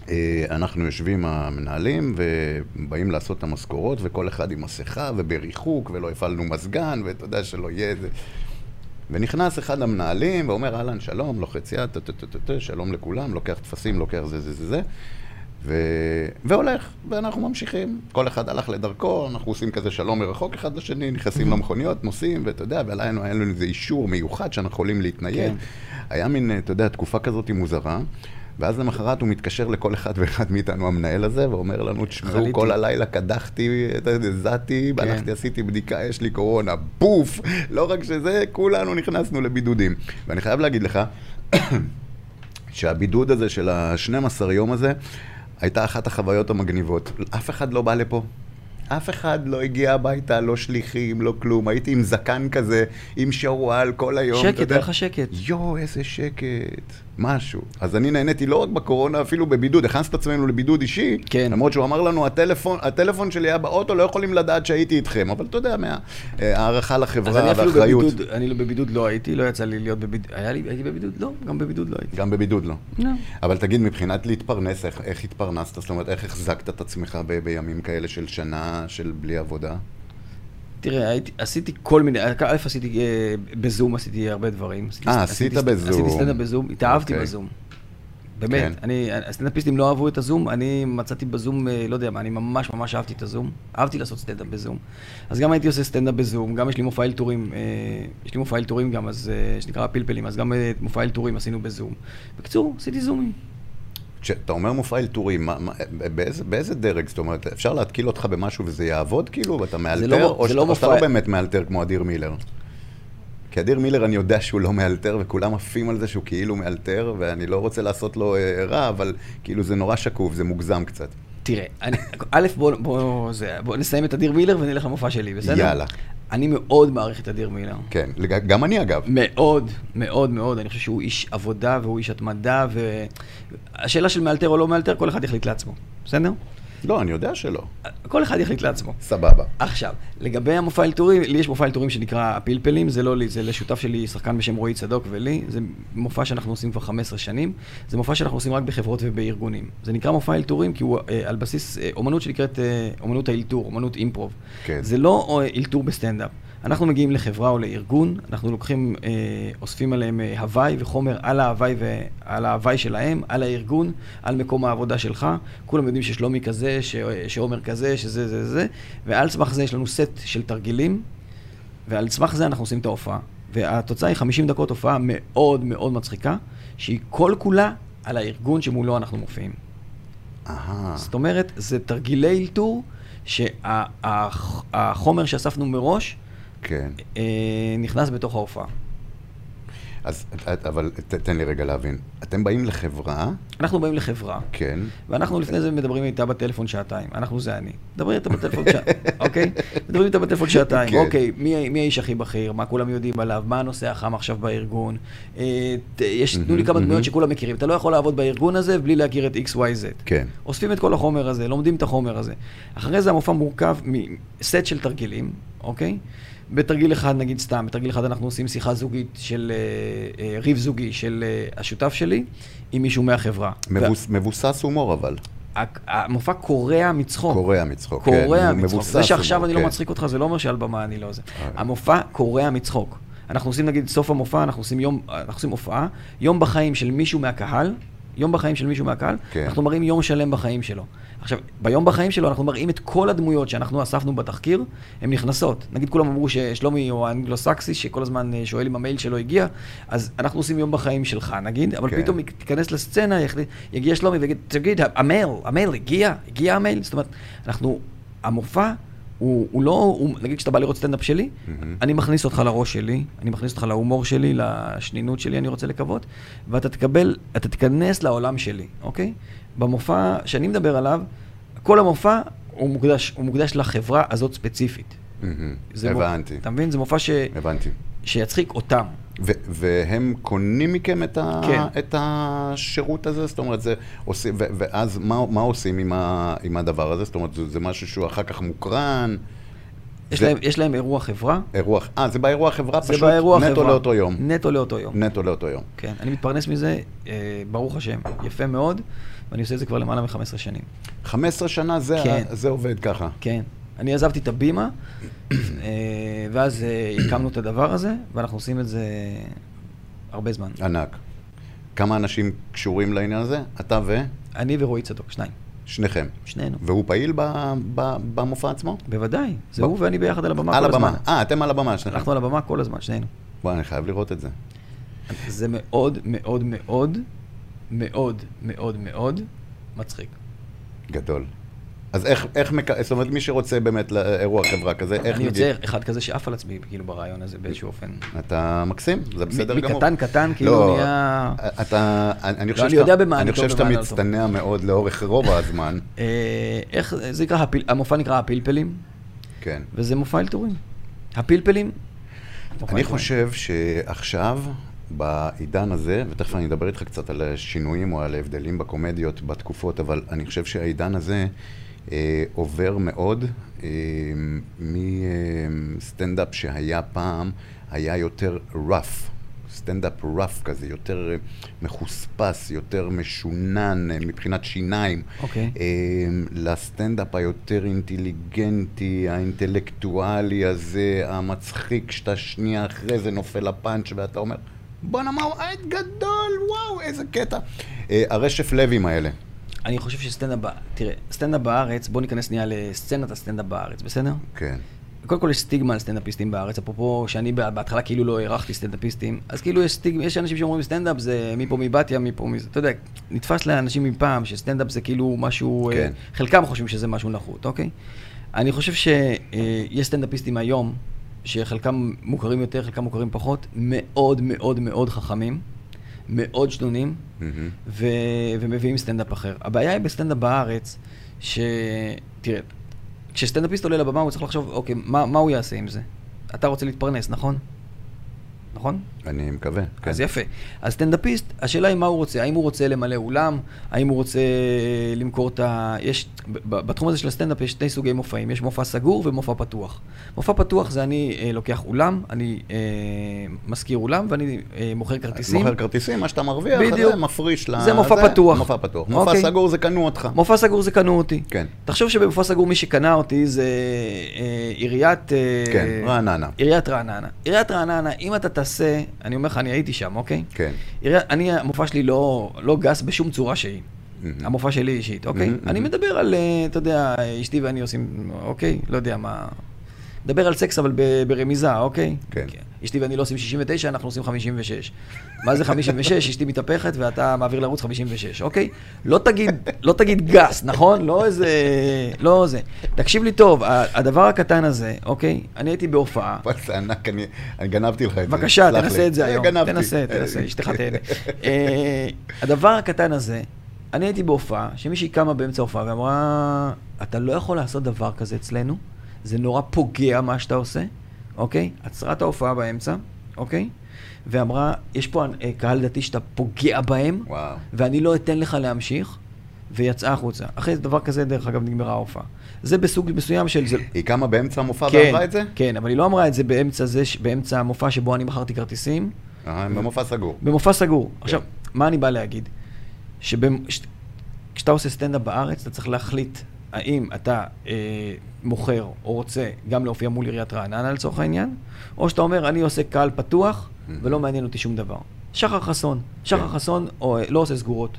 S2: אה, אנחנו יושבים המנהלים ובאים לעשות את המשכורות, וכל אחד עם מסכה ובריחוק, ולא הפעלנו מזגן, ואתה יודע שלא יהיה איזה... ונכנס אחד המנהלים ואומר, אהלן, שלום, לוחץ יד, טה, טה, טה, טה, טה, שלום לכולם, לוקח טפסים, לוקח זה, זה, זה, זה, ו... והולך, ואנחנו ממשיכים. כל אחד הלך לדרכו, אנחנו עושים כזה שלום מרחוק אחד לשני, נכנסים למכוניות, נוסעים, ואתה יודע, ועלינו היה לנו איזה אישור מיוחד שאנחנו יכולים להתנייד.
S3: כן.
S2: היה מין, אתה יודע, תקופה כזאת מוזרה. ואז למחרת הוא מתקשר לכל אחד ואחד מאיתנו, המנהל הזה, ואומר לנו, תשמעו,
S3: חליתי."
S2: כל הלילה קדחתי, אתה יודע, זעתי,
S3: כן.
S2: הלכתי, עשיתי בדיקה, יש לי קורונה, בוף! לא רק שזה, כולנו נכנסנו לבידודים. ואני חייב להגיד לך, [COUGHS] שהבידוד הזה של ה-12 יום הזה, הייתה אחת החוויות המגניבות. אף אחד לא בא לפה. אף אחד לא הגיע הביתה, לא שליחים, לא כלום. הייתי עם זקן כזה, עם שרוואל כל היום. אתה
S3: שקט,
S2: יודע.
S3: היה לך שקט.
S2: יואו, איזה שקט. משהו. אז אני נהניתי לא רק בקורונה, אפילו בבידוד. הכנסנו את עצמנו לבידוד אישי.
S3: כן.
S2: למרות שהוא אמר לנו, הטלפון, הטלפון שלי היה באוטו, לא יכולים לדעת שהייתי איתכם. אבל אתה יודע, מההערכה לחברה
S3: אז אני אפילו
S2: והאחריות.
S3: בבידוד, אני בבידוד לא הייתי, לא יצא לי להיות בבידוד, היה לי, הייתי בבידוד? לא, גם בבידוד לא הייתי.
S2: גם בבידוד לא.
S3: לא.
S2: אבל תגיד, מבחינת להתפרנס, איך, איך התפרנסת? זאת אומרת, איך החזקת את עצמך ב, בימים כאלה של שנה, של בלי עבודה?
S3: תראה, הייתי, עשיתי כל מיני, א', עשיתי, אה, בזום עשיתי הרבה דברים. עשיתי-
S2: אה,
S3: עשיתי
S2: עשית
S3: סט-
S2: בזום.
S3: עשיתי סטנדאפ בזום, התאהבתי
S2: אוקיי.
S3: בזום. באמת,
S2: כן.
S3: אני, הסטנדאפיסטים לא אהבו את הזום, אני מצאתי בזום, אה, לא יודע מה, אני ממש ממש אהבתי את הזום. אהבתי לעשות סטנדאפ בזום. אז גם הייתי עושה סטנדאפ בזום, גם יש לי מופע אלתורים, אה, יש לי מופע אלתורים גם, אז, אה, שנקרא פלפלים, אז גם אה, את מופע אלתורים עשינו בזום. בקיצור, עשיתי זומים.
S2: כשאתה אומר מופע אלתורים, מה- מה- באיזה, באיזה דרג? זאת אומרת, אפשר להתקיל אותך במשהו וזה יעבוד כאילו? ואתה מאלתר?
S3: לא-
S2: או,
S3: זה
S2: שאתה,
S3: לא
S2: או שאתה
S3: מופע-
S2: לא באמת מאלתר כמו אדיר מילר? כי אדיר מילר, אני יודע שהוא לא מאלתר, וכולם עפים על זה שהוא כאילו מאלתר, ואני לא רוצה לעשות לו אה, רע, אבל כאילו זה נורא שקוף, זה מוגזם קצת.
S3: תראה, אני, [LAUGHS] א', בוא, בוא, זה, בוא נסיים את אדיר מילר ונלך למופע שלי, בסדר?
S2: יאללה.
S3: אני מאוד מעריך את אדיר מילר.
S2: כן, לג- גם אני אגב.
S3: מאוד, מאוד, מאוד. אני חושב שהוא איש עבודה והוא איש התמדה, והשאלה של מאלתר או לא מאלתר, כל אחד יחליט לעצמו, בסדר?
S2: לא, אני יודע שלא.
S3: כל אחד יחליט לעצמו.
S2: סבבה.
S3: עכשיו, לגבי המופע אלתורים, לי יש מופע אלתורים שנקרא הפלפלים, זה לא לי, זה לשותף שלי, שחקן בשם רועי צדוק ולי, זה מופע שאנחנו עושים כבר 15 שנים, זה מופע שאנחנו עושים רק בחברות ובארגונים. זה נקרא מופע אלתורים כי הוא אה, על בסיס אה, אומנות שנקראת אה, אומנות האלתור, אומנות אימפרוב.
S2: כן.
S3: זה לא אה, אלתור בסטנדאפ. אנחנו מגיעים לחברה או לארגון, אנחנו לוקחים, אה, אוספים עליהם אה, הוואי וחומר על ההוואי ועל ההוואי שלהם, על הארגון, על מקום העבודה שלך. כולם יודעים ששלומי כזה, ש, שעומר כזה, שזה זה זה, ועל סמך זה יש לנו סט של תרגילים, ועל סמך זה אנחנו עושים את ההופעה. והתוצאה היא 50 דקות הופעה מאוד מאוד מצחיקה, שהיא כל כולה על הארגון שמולו אנחנו מופיעים.
S2: אהה.
S3: זאת אומרת, זה תרגילי אלתור, שהחומר שאספנו מראש
S2: כן.
S3: אה, נכנס בתוך ההופעה.
S2: אז, את- אבל ת- תן לי רגע להבין. אתם באים לחברה,
S3: אנחנו באים לחברה,
S2: כן,
S3: ואנחנו לפני זה מדברים איתה בטלפון שעתיים, אנחנו זה אני. מדברים איתה בטלפון שעתיים,
S2: [LAUGHS]
S3: אוקיי? מדברים איתה בטלפון שעתיים,
S2: כן.
S3: אוקיי, מי מי האיש הכי בכיר, מה כולם יודעים עליו, מה הנושא החם עכשיו בארגון, אה, ת- יש, תנו לי
S2: מהמם,
S3: כמה
S2: מהמם.
S3: דמויות שכולם מכירים, אתה לא יכול לעבוד בארגון הזה בלי להכיר את XYZ.
S2: כן.
S3: אוספים את כל החומר הזה, לומדים את החומר הזה. אחרי זה המופע מורכב מסט של תרגילים, אוקיי? בתרגיל אחד, נגיד סתם, בתרגיל אחד אנחנו עושים שיחה זוגית של, אה, אה, ריב זוגי של אה, השותף שלי עם מישהו מהחברה.
S2: מבוס, מבוסס הומור אבל.
S3: וה- המופע קורע מצחוק.
S2: קורע מצחוק, כן.
S3: קורע
S2: הוא
S3: מצחוק.
S2: מבוסס
S3: זה שעכשיו
S2: הומור,
S3: אני לא
S2: כן.
S3: מצחיק אותך, זה לא אומר שעל במה אני לא זה.
S2: אה.
S3: המופע קורע מצחוק. אנחנו עושים, נגיד, סוף המופע, אנחנו עושים יום, אנחנו עושים הופעה, יום בחיים של מישהו מהקהל, יום בחיים של מישהו מהקהל,
S2: כן.
S3: אנחנו מראים יום שלם בחיים שלו. עכשיו, ביום בחיים שלו אנחנו מראים את כל הדמויות שאנחנו אספנו בתחקיר, הן נכנסות. נגיד כולם אמרו ששלומי הוא האנגלו-סקסי, שכל הזמן אה, שואל אם המייל שלו הגיע, אז אנחנו עושים יום בחיים שלך, נגיד, אבל
S2: כן.
S3: פתאום תיכנס לסצנה, יחליט- יגיע שלומי ויגיד, תגיד, המייל, המייל הגיע, הגיע המייל, זאת אומרת, אנחנו, המופע הוא, הוא לא, הוא, נגיד כשאתה בא לראות סטנדאפ שלי,
S2: מהמם.
S3: אני מכניס אותך לראש שלי, אני מכניס אותך להומור שלי, לשנינות שלי, אני רוצה לקוות, ואתה תקבל, אתה תיכנס לעולם שלי, אוקיי? במופע שאני מדבר עליו, כל המופע הוא מוקדש, הוא מוקדש לחברה הזאת ספציפית.
S2: מהמם.
S3: זה מופע-
S2: הבנתי,
S3: אתה מבין? זה מופע ש,
S2: הבנתי.
S3: שיצחיק אותם.
S2: ו- והם קונים מכם את, ה-
S3: כן.
S2: את השירות הזה? זאת אומרת, זה עושים, ו- ואז מה, מה עושים עם, ה- עם הדבר הזה? זאת אומרת, זה, זה משהו שהוא אחר כך מוקרן,
S3: יש,
S2: זה-
S3: להם, יש להם אירוע חברה,
S2: אירוע... אה, זה באירוע חברה
S3: זה
S2: פשוט
S3: באירוע
S2: נטו
S3: חברה.
S2: לאותו יום.
S3: נטו לאותו יום.
S2: נטו לאותו יום.
S3: כן, אני מתפרנס מזה, אה, ברוך השם, יפה מאוד, ואני עושה את זה כבר למעלה מ-15 שנים.
S2: 15 שנה זה,
S3: כן.
S2: ה- זה עובד ככה.
S3: כן. אני עזבתי את הבימה, אה, ואז אה, הקמנו את הדבר הזה, ואנחנו עושים את זה הרבה זמן.
S2: ענק. כמה אנשים קשורים לעניין הזה? אתה
S3: אני ורועי צדוק, שניים,
S2: ושניכם.
S3: שנינו.
S2: והוא פעיל ב- ב- במופע עצמו?
S3: בוודאי, זה
S2: ב-
S3: הוא ואני ביחד על הבמה
S2: על
S3: כל הזמן.
S2: הבמה. אה, אתם על הבמה שניכם.
S3: אנחנו על הבמה כל הזמן, שנינו.
S2: וואי, אני חייב לראות את זה.
S3: זה מאוד מאוד מאוד מאוד מאוד מאוד מצחיק.
S2: גדול. אז איך, איך מק... זאת אומרת, מי שרוצה באמת לאירוע חברה כזה, איך
S3: אני יוצר אחד כזה שעף על עצמי, כאילו, ברעיון הזה באיזשהו אופן.
S2: אתה מקסים, זה בסדר
S3: מ-
S2: גמור.
S3: מקטן קטן, כאילו,
S2: לא,
S3: נהיה...
S2: אתה, אני, אני חושב
S3: אני
S2: שאתה-
S3: יודע במה
S2: אני
S3: אני
S2: חושב
S3: טוב
S2: שאתה
S3: ומה אני לא טוב.
S2: מצטנע מאוד לאורך רוב הזמן.
S3: אה, איך זה נקרא, הפיל- המופע נקרא הפלפלים,
S2: כן.
S3: וזה מופע אלתורים. הפלפלים. מופע
S2: אני
S3: אלתורים.
S2: חושב שעכשיו, בעידן הזה, ותכף אני אדבר איתך קצת על השינויים או על ההבדלים בקומדיות בתקופות, אבל אני חושב שהעידן הזה אה, עובר מאוד אה, מסטנדאפ שהיה פעם, היה יותר rough. סטנדאפ rough כזה, יותר אה, מחוספס, יותר משונן אה, מבחינת שיניים.
S3: אוקיי.
S2: אמ, לסטנדאפ היותר אינטליגנטי, האינטלקטואלי הזה, המצחיק, שאתה שנייה אחרי זה נופל הפאנץ' ואתה אומר, בואנה מה הוא עד גדול, וואו, איזה קטע. אה, הרשף לוים האלה.
S3: אני חושב שסטנדאפ, בא- תראה, סטנדאפ בארץ, בוא ניכנס שנייה לסצנת הסטנדאפ בארץ, בסדר?
S2: כן.
S3: קודם כל יש סטיגמה על סטנדאפיסטים בארץ, אפרופו שאני בה- בהתחלה כאילו לא הערכתי סטנדאפיסטים, אז כאילו יש סטיגמה, יש אנשים שאומרים סטנדאפ זה מפה מבתיה, מפה מזה, אתה יודע, נתפס לאנשים מפעם שסטנדאפ זה כאילו משהו,
S2: כן.
S3: כן. חלקם חושבים שזה משהו נחות, אוקיי? אני חושב שיש סטנדאפיסטים היום, שחלקם מוכרים יותר, חלקם מוכרים פחות, מאוד מאוד מאוד חכמים, מאוד שנונים,
S2: מהמם.
S3: ו... ומביאים סטנדאפ אחר. הבעיה היא בסטנדאפ בארץ, ש... תראה, כשסטנדאפיסט עולה לבמה הוא צריך לחשוב, אוקיי, מה, מה הוא יעשה עם זה? אתה רוצה להתפרנס, נכון? נכון?
S2: אני מקווה.
S3: כן.
S2: כן.
S3: אז יפה. אז סטנדאפיסט, השאלה היא מה הוא רוצה. האם הוא רוצה למלא אולם? האם הוא רוצה למכור את ה... יש... ב- ב- בתחום הזה של הסטנדאפ יש שני סוגי מופעים. יש מופע סגור ומופע פתוח. מופע פתוח זה אני אה, לוקח אולם, אני אה, משכיר אולם ואני אה, מוכר כרטיסים.
S2: מוכר כרטיסים, מה שאתה מרוויח,
S3: בדיוק.
S2: זה מפריש ל...
S3: זה מופע פתוח.
S2: מופע פתוח. מופע
S3: אוקיי.
S2: סגור זה קנו אותך. [LAUGHS]
S3: מופע סגור זה קנו אותי.
S2: כן.
S3: תחשוב שבמופע סגור מי שקנה אותי זה אה, עיריית... אה,
S2: כן, רעננה.
S3: עיריית רעננה. עיריית רעננה, אם אתה תעשה, אני אומר לך, אני הייתי שם, אוקיי?
S2: כן.
S3: עיריית, אני, המופע שלי לא, לא גס בשום צורה שהיא.
S2: מהמם.
S3: המופע שלי אישית, אוקיי?
S2: מהמם,
S3: אני
S2: מהמם.
S3: מדבר על, אה, אתה יודע, אשתי ואני עושים, אוקיי? לא יודע מה... דבר על סקס, אבל ב- ברמיזה, אוקיי?
S2: כן.
S3: אשתי ואני לא עושים 69, אנחנו עושים 56. מה זה 56? אשתי מתהפכת ואתה מעביר לערוץ 56, אוקיי? לא תגיד, לא תגיד גס, נכון? לא איזה... לא זה. תקשיב לי טוב, ה- הדבר הקטן הזה, אוקיי? אני הייתי בהופעה,
S2: פס ענק, אני, אני גנבתי לך את זה.
S3: בבקשה,
S2: סלח
S3: תנסה
S2: לי.
S3: את זה
S2: אה,
S3: היום.
S2: גנבתי.
S3: תנסה,
S2: אה,
S3: תנסה, אשתך
S2: [LAUGHS]
S3: תהנה. אה, הדבר הקטן הזה, אני הייתי בהופעה, שמישהי קמה באמצע ההופעה ואמרה, אתה לא יכול לעשות דבר כזה אצלנו, זה נורא פוגע מה שאתה עושה, אוקיי? עצרה את ההופעה באמצע, אוקיי? ואמרה, יש פה אה, קהל דתי שאתה פוגע בהם,
S2: וואו.
S3: ואני לא אתן לך להמשיך, ויצאה החוצה. אחרי דבר כזה, דרך אגב, נגמרה ההופעה. זה בסוג מסוים של... זה-
S2: היא קמה באמצע המופע
S3: כן,
S2: ואמרה לא את זה?
S3: כן, אבל היא לא אמרה את זה באמצע, זה, ש- באמצע המופע שבו אני מכרתי כרטיסים,
S2: אה, הם במופע סגור.
S3: במופע סגור. עכשיו,
S2: כן.
S3: מה אני בא להגיד? שכשאתה עושה סטנדאפ בארץ, אתה צריך להחליט האם אתה אה, מוכר או רוצה גם להופיע מול עיריית רעננה לצורך העניין, או שאתה אומר, אני עושה קהל פתוח ולא מעניין אותי שום דבר. שחר חסון, שחר
S2: Mm-hmm. כן.
S3: חסון או, לא עושה סגורות.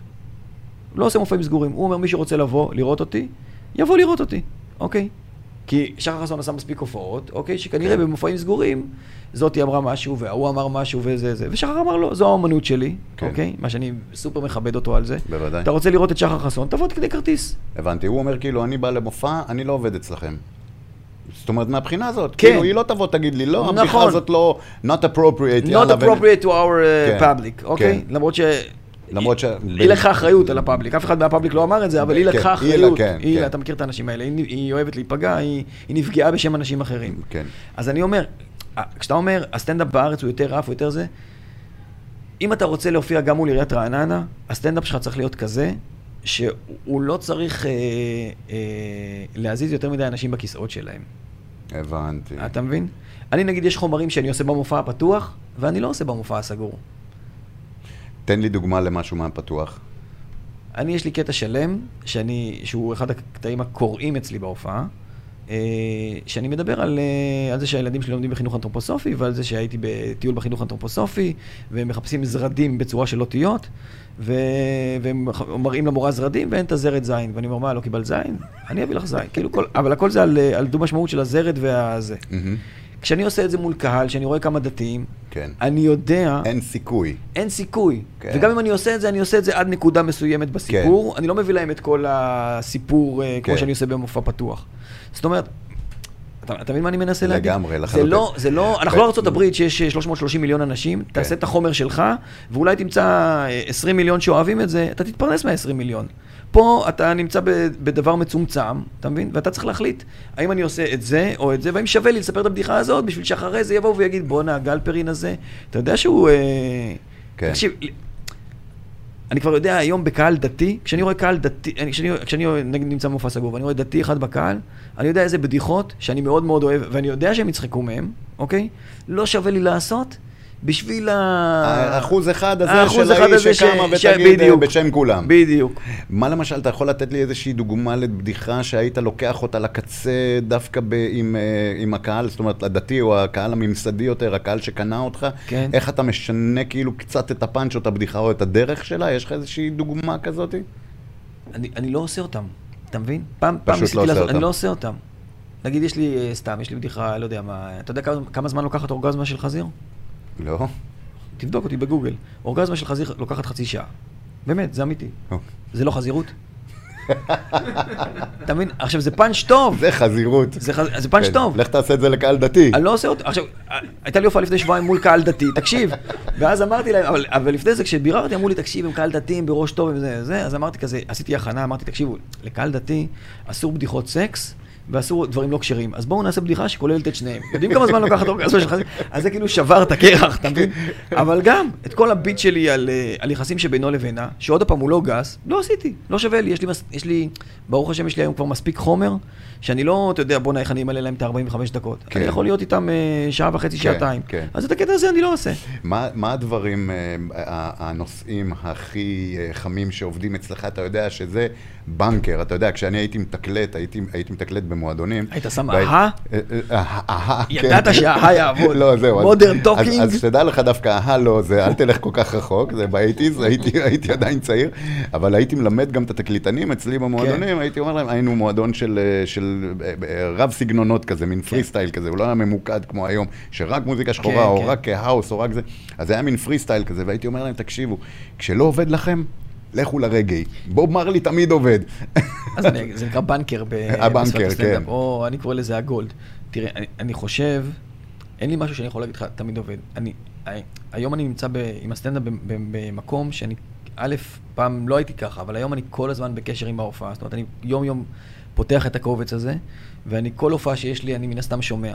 S3: לא עושה מופעים סגורים. הוא אומר, מי שרוצה לבוא, לראות אותי, יבוא לראות אותי, אוקיי? כי שחר חסון עשה מספיק הופעות, אוקיי? שכנראה
S2: כן.
S3: במופעים סגורים, זאתי אמרה משהו, וההוא אמר משהו, וזה זה. ושחר אמר לו, זו האומנות שלי,
S2: כן.
S3: אוקיי? מה שאני סופר מכבד אותו על זה.
S2: בוודאי.
S3: אתה רוצה לראות את שחר חסון, תבוא כדי כרטיס.
S2: הבנתי, הוא אומר כאילו, אני בא למופע, אני לא עובד אצלכם. זאת אומרת, מהבחינה הזאת,
S3: כן.
S2: כאילו, היא לא תבוא, תגיד לי, לא, הבדיחה
S3: נכון.
S2: הזאת לא, not appropriate,
S3: Not
S2: ו-
S3: appropriate to our
S2: כן,
S3: uh, public, אוקיי?
S2: כן.
S3: למרות ש...
S2: למרות ש-
S3: היא לקחה אחריות על הפאבליק, אף אחד מהפאבליק לא אמר את זה, אבל היא
S2: כן,
S3: לקחה
S2: היא
S3: אחריות.
S2: לה- כן,
S3: היא,
S2: כן.
S3: אתה מכיר את האנשים האלה, היא היא אוהבת להיפגע, היא היא נפגעה בשם אנשים אחרים.
S2: כן.
S3: אז אני אומר, אה, כשאתה אומר, הסטנדאפ בארץ הוא יותר רף, הוא יותר זה, אם אתה רוצה להופיע גם מול עיריית רעננה, הסטנדאפ שלך צריך להיות כזה, שהוא לא צריך אה, אה, להזיז יותר מדי אנשים בכיסאות שלהם.
S2: הבנתי.
S3: אה, אתה מבין? אני נגיד, יש חומרים שאני עושה במופע הפתוח, ואני לא עושה במופע הסגור.
S2: תן לי דוגמה למשהו מהפתוח.
S3: אני, יש לי קטע שלם, שאני, שהוא אחד הקטעים הקוראים אצלי בהופעה, אה, שאני מדבר על, אה, על זה שהילדים שלי לומדים בחינוך אנתרופוסופי, ועל זה שהייתי בטיול בחינוך אנתרופוסופי, והם מחפשים זרדים בצורה של אותיות, ו... והם מח- מראים למורה זרדים, ואין את הזרד זין. ואני אומר, מה, לא קיבלת זין? אני אביא לך זין. כאילו כל... אבל הכל זה על, אה, על דו-משמעות של הזרד והזה.
S2: מהמם.
S3: כשאני עושה את זה מול קהל, שאני רואה כמה דתיים,
S2: כן.
S3: אני יודע...
S2: אין סיכוי.
S3: אין סיכוי.
S2: כן.
S3: כן. וגם אם אני עושה את זה, אני עושה את זה עד נקודה מסוימת בסיפור. כן. אני לא מביא להם את כל הסיפור כן.
S2: כן.
S3: כמו שאני עושה במופע פתוח. זאת אומרת, אתה, אתה מבין מה אני מנסה להגיד?
S2: לגמרי,
S3: זה
S2: לחלוטין.
S3: לא, זה לא, אנחנו
S2: ו-
S3: לא ארצות הברית שיש אה, 330 מיליון אנשים, כן. תעשה את החומר שלך, ואולי תמצא אה, 20 מיליון שאוהבים את זה, אתה תתפרנס מה-20 מיליון. פה אתה נמצא ב- בדבר מצומצם, אתה מבין? ואתה צריך להחליט האם אני עושה את זה או את זה, והאם שווה לי לספר את הבדיחה הזאת, בשביל שאחרי זה יבואו ויגיד, בואנה, הגלפרין הזה, אתה יודע שהוא... אה,
S2: כן.
S3: תקשיב, אני כבר יודע היום בקהל דתי, כשאני רואה קהל דתי, אני- כשאני, כשאני נגיד נמצא במופע סגור ואני רואה דתי אחד בקהל, אני יודע איזה בדיחות שאני מאוד מאוד אוהב, ואני יודע שהם יצחקו מהם, אוקיי? לא שווה לי לעשות בשביל ה...
S2: האחוז אחד הזה
S3: אה, האחוז
S2: של
S3: אחד
S2: האיש
S3: הזה ש-
S2: שקמה
S3: ש-
S2: ותגיד אה,
S3: בדיוק.
S2: בשם כולם.
S3: בדיוק.
S2: מה למשל, אתה יכול לתת לי איזושהי דוגמה לבדיחה שהיית לוקח אותה לקצה דווקא ב, עם, אה, עם הקהל, זאת אומרת, הדתי או הקהל הממסדי יותר, הקהל שקנה אותך?
S3: כן.
S2: איך אתה משנה כאילו קצת את הפאנץ' או את הבדיחה או את הדרך שלה? יש לך איזושהי דוגמה כזאת?
S3: אני, אני לא עושה אותם, אתה מבין? פעם,
S2: פשוט
S3: פעם
S2: לא
S3: ניסיתי
S2: עושה
S3: לעשות-
S2: אותם.
S3: אני לא עושה אותם. נגיד יש לי, אה, סתם, יש לי בדיחה, לא יודע מה, אתה יודע כמה, כמה זמן לוקחת אורגזמה של חזיר?
S2: לא.
S3: תבדוק אותי בגוגל. אורגזמה של חזיר לוקחת חצי שעה. באמת, זה אמיתי.
S2: אוקיי.
S3: זה לא חזירות? [LAUGHS] אתה מבין? עכשיו, זה פאנץ' טוב.
S2: זה חזירות.
S3: זה חז- זה פאנץ'
S2: כן,
S3: טוב.
S2: לך תעשה את זה לקהל דתי.
S3: אני לא עושה אותו. עכשיו, הייתה לי הופעה לפני שבועיים מול קהל דתי, תקשיב. ואז אמרתי להם, אבל, אבל לפני זה, כשביררתי, אמרו לי, תקשיב, הם קהל דתי, הם בראש טוב, הם זה, זה, אז אמרתי כזה, עשיתי הכנה, אמרתי, תקשיבו, לקהל דתי אסור בדיחות סקס. ואסור דברים לא כשרים, אז בואו נעשה בדיחה שכוללת את שניהם. יודעים כמה זמן לוקחת אורגזמה שלך? אז זה כאילו שבר את הקרח, אתה מבין? אבל גם, את כל הביט שלי על, אה, על יחסים שבינו לבינה, שעוד פעם הוא לא גס, לא עשיתי, לא שווה לי, יש לי, מס- יש לי, ברוך השם, יש לי היום כבר מספיק חומר, שאני לא, אתה יודע, בואנה, איך אני אמלא להם את ה-45 דקות.
S2: כן.
S3: אני יכול להיות איתם אה, שעה וחצי,
S2: כן,
S3: שעתיים.
S2: כן.
S3: אז את הקטע הזה אני
S2: [LAUGHS]
S3: לא עושה.
S2: מה, מה הדברים, אה, ה- הנושאים הכי אה, חמים שעובדים אצלך? אתה יודע שזה בנקר, אתה יודע, כשאני הייתי מתקלט, הייתי, הייתי מתקלט במועדונים.
S3: היית שם
S2: והי-
S3: אהה?
S2: אה, אה, אה, אהה, כן.
S3: ידעת שהאהה יעבוד.
S2: לא, זהו. אז-
S3: Modern
S2: אז-
S3: talking.
S2: אז שתדע לך דווקא, אהה לא, זה, אל תלך כל כך רחוק, זה באייטיז, הייתי [LAUGHS] הייתי עדיין צעיר, אבל הייתי מלמד גם את התקליטנים אצלי
S3: כן.
S2: במועדונים, הייתי אומר להם, היינו מועדון של אה, של, אה, אה, רב סגנונות כזה, מין פרי סטייל כזה, הוא לא היה ממוקד כמו היום, שרק מוזיקה
S3: כן,
S2: שחורה, או
S3: כן.
S2: רק רק האוס או רק זה, אז זה היה מין פרי סטייל כזה, והייתי אומר להם, תקשיבו, כשלא עובד לכם, לכו לרגעי. בוב מרלי תמיד עובד.
S3: אז אני- זה נקרא בנקר ב-
S2: הבנקר,
S3: בשפת הסטנדאפ,
S2: כן.
S3: או אני קורא לזה הגולד. תראה, אני- אני חושב, אין לי משהו שאני יכול להגיד לך, תמיד עובד. אני, הי- היום אני נמצא ב- עם הסטנדאפ ב- ב- במקום שאני, א', פעם לא הייתי ככה, אבל היום אני כל הזמן בקשר עם ההופעה. זאת אומרת, אני יום-יום פותח את הקובץ הזה, ואני כל הופעה שיש לי, אני מן הסתם שומע.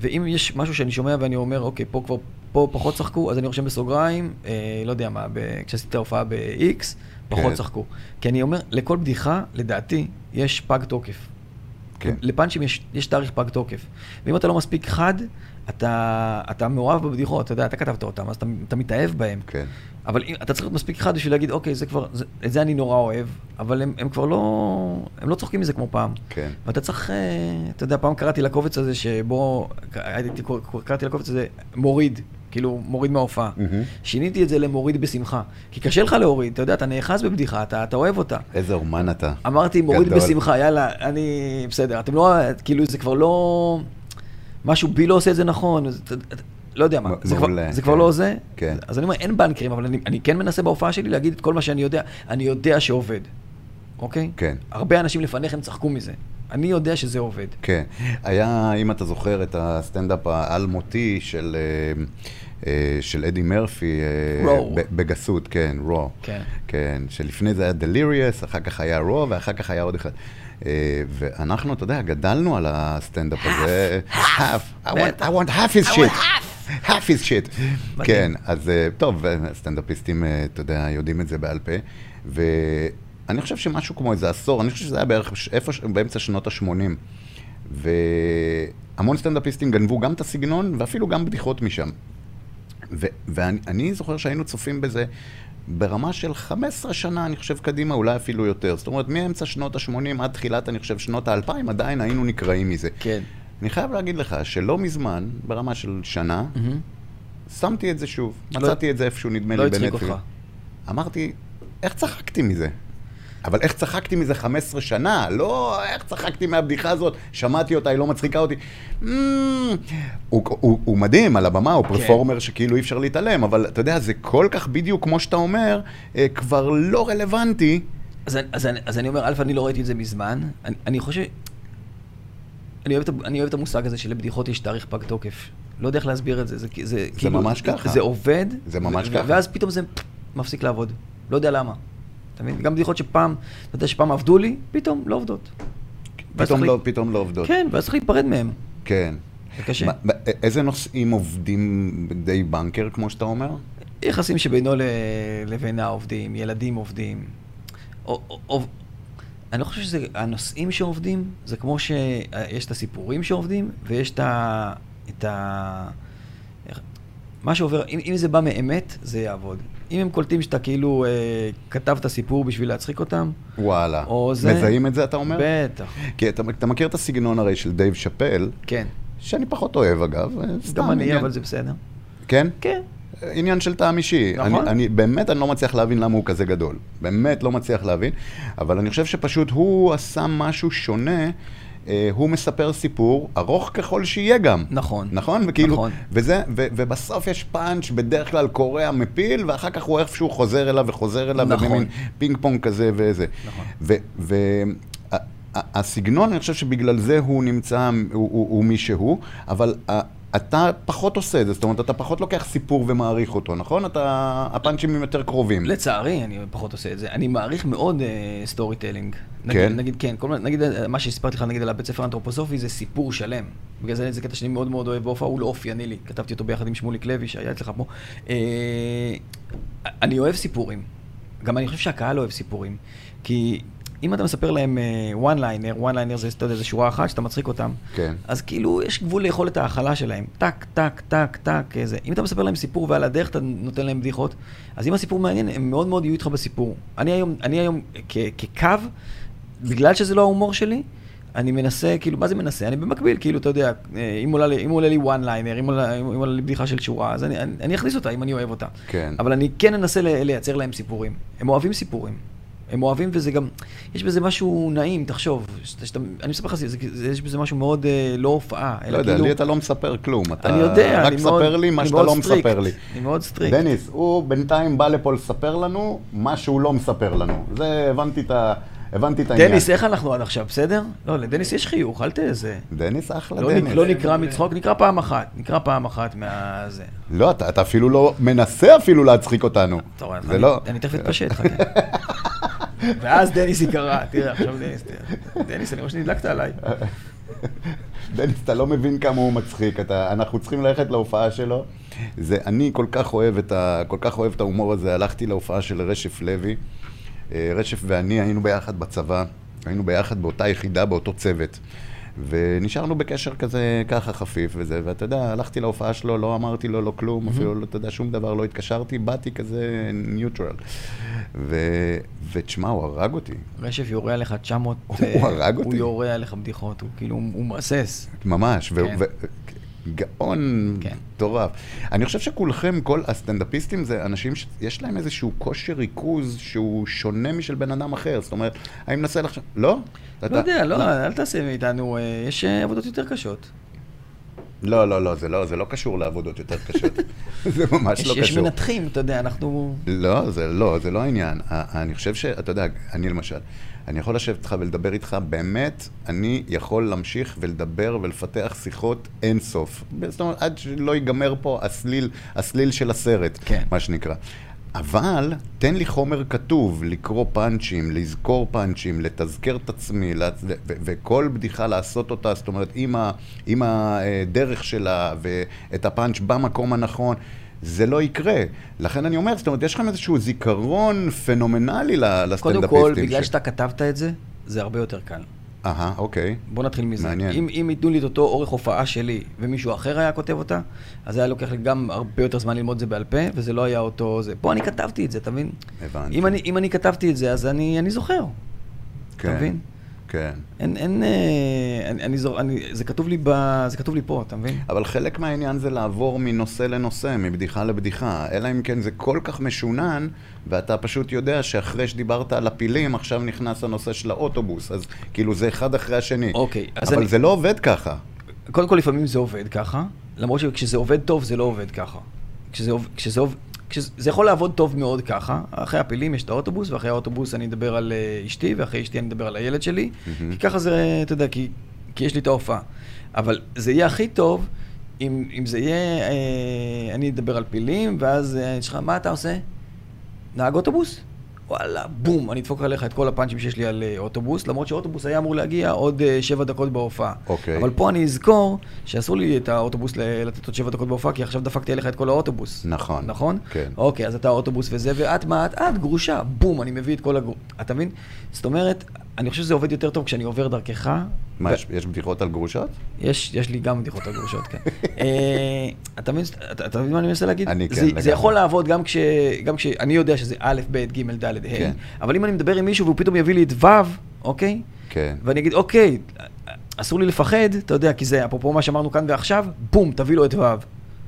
S3: ואם יש משהו שאני שומע ואני אומר, אוקיי, פה כבר, פה פחות צחקו, אז אני רושם בסוגריים, אה, לא יודע מה, ב- כשעשיתי את ההופעה ב-X, פחות
S2: כן.
S3: צחקו. כי אני אומר, לכל בדיחה, לדעתי, יש פג תוקף.
S2: כן.
S3: לפאנצ'ים יש, יש תאריך פג תוקף. ואם אתה לא מספיק חד, אתה, אתה מאוהב בבדיחות, אתה יודע, אתה כתבת אותן, אז אתה, אתה מתאהב בהן.
S2: כן.
S3: אבל אם, אתה צריך להיות מספיק חד בשביל להגיד, אוקיי, זה כבר, זה, את זה אני נורא אוהב, אבל הם, הם כבר לא, הם לא צוחקים מזה כמו פעם.
S2: כן.
S3: ואתה צריך, אה, אתה יודע, פעם קראתי לקובץ הזה שבו, הייתי, קור- קור- קראתי לקובץ הזה מוריד, כאילו מוריד מההופעה.
S2: מהמם.
S3: שיניתי את זה למוריד בשמחה. כי קשה לך להוריד, אתה יודע, אתה נאחז בבדיחה, אתה, אתה אוהב אותה.
S2: איזה אומן אתה.
S3: אמרתי, מוריד
S2: גדול.
S3: בשמחה, יאללה, אני... בסדר. אתם לא... כאילו, זה כבר לא... משהו בי לא עושה את זה נכון, אז אתה- אתה- לא יודע מה.
S2: מ-
S3: זה כבר-
S2: מעולה,
S3: זה כבר
S2: כן.
S3: לא זה?
S2: כן.
S3: אז אני אומר, אין בנקרים, אבל אני- אני כן מנסה בהופעה שלי להגיד את כל מה שאני יודע. אני יודע שעובד, אוקיי?
S2: כן.
S3: הרבה אנשים לפניכם צחקו מזה. אני יודע שזה עובד.
S2: כן. היה, אם אתה זוכר, את הסטנדאפ האלמותי של... אה, אה, של אדי מרפי, אה,
S3: Raw.
S2: ב- בגסות, כן, רו.
S3: כן.
S2: כן, שלפני זה היה דליריוס, אחר כך היה רו, ואחר כך היה עוד אחד. אה, ואנחנו, אתה יודע, גדלנו על הסטנדאפ הזה. האף, I want- I want half his shit. half his shit.
S3: מדהים.
S2: כן, אז אה, טוב, אה, סטנדאפיסטים, אה, אתה יודע, יודעים את זה בעל פה. ואני חושב שמשהו כמו איזה עשור, אני חושב שזה היה בערך ש- איפה, ש- באמצע שנות ה-80. והמון סטנדאפיסטים גנבו גם את הסגנון, ואפילו גם בדיחות משם. ו- ואני אני זוכר שהיינו צופים בזה ברמה של 15 שנה, אני חושב, קדימה, אולי אפילו יותר. זאת אומרת, מאמצע שנות ה-80 עד תחילת, אני חושב, שנות ה-2000, עדיין היינו נקרעים מזה.
S3: כן.
S2: אני חייב להגיד לך שלא מזמן, ברמה של שנה,
S3: מהמם.
S2: שמתי את זה שוב.
S3: לא-
S2: מצאתי את זה איפשהו, נדמה
S3: לא
S2: לי,
S3: הצחיק
S2: בנטפליקס.
S3: אותך.
S2: אמרתי, איך צחקתי מזה? אבל איך צחקתי מזה 15 שנה? לא, איך צחקתי מהבדיחה הזאת? שמעתי אותה, היא לא מצחיקה אותי. Mm, הוא, הוא, הוא מדהים על הבמה,
S3: כן.
S2: הוא פרפורמר שכאילו אי אפשר להתעלם, אבל אתה יודע, זה כל כך בדיוק כמו שאתה אומר, אה, כבר לא רלוונטי.
S3: אז, אני- אז, אני- אז אני אומר, א', אני לא ראיתי את זה מזמן. אני, אני חושב... אני אוהב, את, ה- אני אוהב את המושג הזה שלבדיחות יש תאריך פג תוקף. לא יודע איך להסביר את זה. זה, כי- זה, זה
S2: ממש ככה.
S3: זה עובד.
S2: זה ממש
S3: ו-
S2: ככה.
S3: ואז פתאום זה מפסיק לעבוד. לא יודע למה. אתה מבין? גם בדיחות שפעם, אתה יודע שפעם עבדו לי, פתאום לא עובדות. ואז
S2: פתאום
S3: צריך
S2: לא,
S3: להיפ-
S2: פתאום לא עובדות.
S3: כן, ואז צריך להיפרד מהם.
S2: כן.
S3: זה קשה.
S2: מה- מה- איזה נושאים עובדים די בנקר, כמו שאתה אומר?
S3: יחסים שבינו ל- לבין העובדים, ילדים עובדים. או, או, או, אני לא חושב שזה הנושאים שעובדים, זה כמו שיש את הסיפורים שעובדים, ויש את ה... את ה... איך- מה שעובר, אם, אם זה בא מאמת, זה יעבוד. אם הם קולטים שאתה כאילו אה, כתבת סיפור בשביל להצחיק אותם,
S2: וואלה.
S3: או זה...
S2: מזהים את זה, אתה אומר?
S3: בטח,
S2: כי אתה, אתה מכיר את הסגנון הרי של דייב שאפל,
S3: כן.
S2: שאני פחות אוהב אגב, אה, סתם
S3: גם אני,
S2: עניין.
S3: אבל זה בסדר.
S2: כן?
S3: כן.
S2: אה, עניין של טעם אישי.
S3: נכון.
S2: אני, אני, באמת אני לא מצליח להבין למה הוא כזה גדול. באמת לא מצליח להבין, אבל אני חושב שפשוט הוא עשה משהו שונה. אה, הוא מספר סיפור, ארוך ככל שיהיה גם.
S3: נכון.
S2: נכון? וכאילו,
S3: נכון.
S2: וזה, ו, ובסוף יש פאנץ' בדרך כלל קורע מפיל, ואחר כך הוא איפשהו חוזר אליו וחוזר אליו,
S3: נכון.
S2: ובמין פינג פונג כזה וזה.
S3: נכון.
S2: והסגנון, אני חושב שבגלל זה הוא נמצא, הוא, הוא, הוא מי שהוא, אבל ה- אתה פחות עושה את זה, זאת אומרת, אתה פחות לוקח סיפור ומעריך אותו, נכון? אתה, הפאנצ'ים הם יותר קרובים.
S3: לצערי, אני פחות עושה את זה. אני מעריך מאוד סטורי טלינג.
S2: כן?
S3: נגיד, כן, כל מיני, נגיד, אה, מה שהספרתי לך, נגיד, על הבית ספר האנתרופוסופי, זה סיפור שלם. בגלל זה זה קטע שאני מאוד מאוד אוהב בהופעה, הוא לא אופייני לי. כתבתי אותו ביחד עם שמוליק לוי, שהיה אצלך פה. אה, אני אוהב סיפורים. גם אני חושב שהקהל אוהב סיפורים. כי אם אתה מספר להם אה, one liner, one liner זה, אתה יודע, זה שורה אחת שאתה מצחיק אותם.
S2: כן.
S3: אז כאילו, יש גבול ליכולת ההכלה שלהם. טק, טק, טק, טק, איזה. אם אתה מספר להם סיפור ועל הדרך אתה נותן להם בדיחות, אז אם הסיפור מעניין, הם מאוד מאוד יהיו איתך בסיפור. אני היום, אני היום כ- כקו, בגלל שזה לא ההומור שלי, אני מנסה, כאילו, מה זה מנסה? אני במקביל, כאילו, אתה יודע, אה, אם עולה לי- אם עולה לי one liner, אם עולה אם עולה לי בדיחה של שורה, אז אני- אני אני אכניס אותה אם אני אוהב אותה.
S2: כן.
S3: אבל אני כן אנסה ל- לייצר להם סיפורים. הם אוהבים סיפורים. הם אוהבים וזה גם, יש בזה משהו נעים, תחשוב. שאתה- שאתה- אני מספר לך, זה- זה- יש בזה משהו מאוד אה, לא הופעה. אלא
S2: לא יודע,
S3: כאילו-
S2: לי אתה לא מספר כלום. אתה
S3: אני יודע,
S2: רק
S3: אני מאוד...
S2: ספר לי מה
S3: אני
S2: שאתה
S3: מאוד
S2: לא
S3: סטריקט.
S2: מספר לי.
S3: אני מאוד סטריקט.
S2: דניס, הוא בינתיים בא לפה לספר לנו מה שהוא לא מספר לנו. זה, הבנתי את ה- הבנתי את העניין.
S3: דניס, איך אנחנו עד עכשיו, בסדר? לא, לדניס יש חיוך, אל תזה.
S2: דניס, אחלה
S3: לא,
S2: דניס.
S3: נק- לא נקרא מצחוק, נקרא פעם אחת. נקרא פעם אחת מהזה.
S2: לא, אתה אתה אפילו לא מנסה אפילו להצחיק אותנו.
S3: אתה רואה,
S2: זה
S3: אני-
S2: לא...
S3: אני תכף
S2: [LAUGHS]
S3: אתפשט, חכה. ואז דניס יקרא, תראה, עכשיו דניס, תראה. דניס, אני רואה שנדלקת עליי.
S2: דניס, אתה לא מבין כמה הוא מצחיק, אתה, אנחנו צריכים ללכת להופעה שלו. זה, אני כל כך אוהב את, ה, כל כך אוהב את ההומור הזה, הלכתי להופעה של רשף לוי. אה, רשף ואני היינו ביחד בצבא, היינו ביחד באותה יחידה, באותו צוות. ונשארנו בקשר כזה, ככה חפיף וזה, ואתה יודע, הלכתי להופעה שלו, לא אמרתי לו לא כלום, אפילו לא, אתה יודע, שום דבר, לא התקשרתי, באתי כזה ניוטרל. ו- ותשמע, הוא הרג אותי.
S3: רשף יורה עליך 900...
S2: הוא
S3: אה,
S2: הרג
S3: הוא
S2: אותי.
S3: יורה עליך בדיחות, הוא כאילו, הוא מהסס.
S2: ממש,
S3: כן.
S2: ו- ו- גאון
S3: כן.
S2: מטורף. אני חושב שכולכם, כל הסטנדאפיסטים זה אנשים שיש להם איזשהו כושר ריכוז שהוא שונה משל בן אדם אחר. זאת אומרת, אני מנסה לחשוב, לא? אתה-
S3: לא יודע, לא, אל תעשה מאיתנו, אה, יש אה, עבודות יותר קשות.
S2: לא, לא, לא, זה לא, זה לא קשור לעבודות יותר
S3: [LAUGHS]
S2: קשות. זה ממש
S3: יש
S2: לא
S3: יש
S2: קשור.
S3: מנתחים, אתה יודע, אנחנו...
S2: לא, זה לא, זה לא העניין. ה- אני חושב שאתה יודע, אני למשל, אני יכול לשבת איתך ולדבר איתך, באמת, אני יכול להמשיך ולדבר ולפתח שיחות אינסוף. זאת אומרת, עד שלא ייגמר פה הסליל, הסליל של הסרט,
S3: כן.
S2: מה שנקרא. אבל תן לי חומר כתוב, לקרוא פאנצ'ים, לזכור פאנצ'ים, לתזכר את עצמי, לה- ו- ו- וכל בדיחה לעשות אותה, זאת אומרת, עם, ה- עם הדרך שלה, ואת הפאנץ' במקום הנכון, זה לא יקרה. לכן אני אומר, זאת אומרת, יש לכם איזשהו זיכרון פנומנלי ל- לסטנדאפיסטים.
S3: קודם כל, בגלל
S2: ש-
S3: שאתה כתבת את זה, זה הרבה יותר קל.
S2: אהה, אוקיי.
S3: בוא נתחיל מזה.
S2: מעניין.
S3: אם, אם ייתנו לי את אותו אורך הופעה שלי ומישהו אחר היה כותב אותה, אז היה לוקח לי גם הרבה יותר זמן ללמוד את זה בעל פה, וזה לא היה אותו זה. פה אני כתבתי את זה, אתה מבין?
S2: הבנתי.
S3: אם אני, אם אני כתבתי את זה, אז אני, אני זוכר.
S2: כן,
S3: מבין?
S2: כן.
S3: אין, אין, אה, אני, אני, זור, אני, זה כתוב לי ב... זה כתוב לי פה, אתה מבין?
S2: אבל חלק מהעניין זה לעבור מנושא לנושא, מבדיחה לבדיחה. אלא אם כן זה כל כך משונן, ואתה פשוט יודע שאחרי שדיברת על הפילים, עכשיו נכנס הנושא של האוטובוס. אז כאילו זה אחד אחרי השני.
S3: אוקיי, אז
S2: אבל
S3: אני-
S2: זה לא עובד ככה.
S3: קודם כל, לפעמים זה עובד ככה, למרות שכשזה עובד טוב, זה לא עובד ככה. כשזה עובד... כשזה עובד... כשזה זה יכול לעבוד טוב מאוד ככה, אחרי הפילים יש את האוטובוס, ואחרי האוטובוס אני אדבר על אה, אשתי, ואחרי אשתי אני אדבר על הילד שלי,
S2: מהמם.
S3: כי ככה זה, אתה יודע, כי, כי יש לי את ההופעה. אבל זה יהיה הכי טוב אם, אם זה יהיה, אה, אני אדבר על פילים, ואז אה, אני אשאל לך, מה אתה עושה? נהג אוטובוס? וואלה, בום, אני אדפוק עליך את כל הפאנצ'ים שיש לי על אה, אוטובוס, למרות שאוטובוס היה אמור להגיע עוד אה, שבע דקות בהופעה.
S2: אוקיי.
S3: אבל פה אני אזכור שאסור לי את האוטובוס ל- לתת עוד שבע דקות בהופעה, כי עכשיו דפקתי עליך את כל האוטובוס.
S2: נכון.
S3: נכון?
S2: כן.
S3: אוקיי, אז אתה האוטובוס וזה, ואת מה את? את גרושה, בום, אני מביא את כל הגרוש... אתה מבין? זאת אומרת, אני חושב שזה עובד יותר טוב כשאני עובר דרכך.
S2: מה,
S3: ו-
S2: יש, יש בדיחות על גרושות?
S3: יש, יש לי גם בדיחות על גרושות, כן. אה, אתה מבין, אתה, אתה מבין מה אני מנסה להגיד?
S2: אני כן,
S3: זה,
S2: לגמרי.
S3: זה יכול לעבוד גם, כש, גם כשאני יודע שזה א', ב', ג', ד', ה',
S2: כן.
S3: אבל אם אני מדבר עם מישהו והוא פתאום יביא לי את ו', אוקיי?
S2: כן.
S3: ואני אגיד, אוקיי, אסור לי לפחד, אתה יודע, כי זה אפרופו מה שאמרנו כאן ועכשיו, בום, תביא לו את ו'.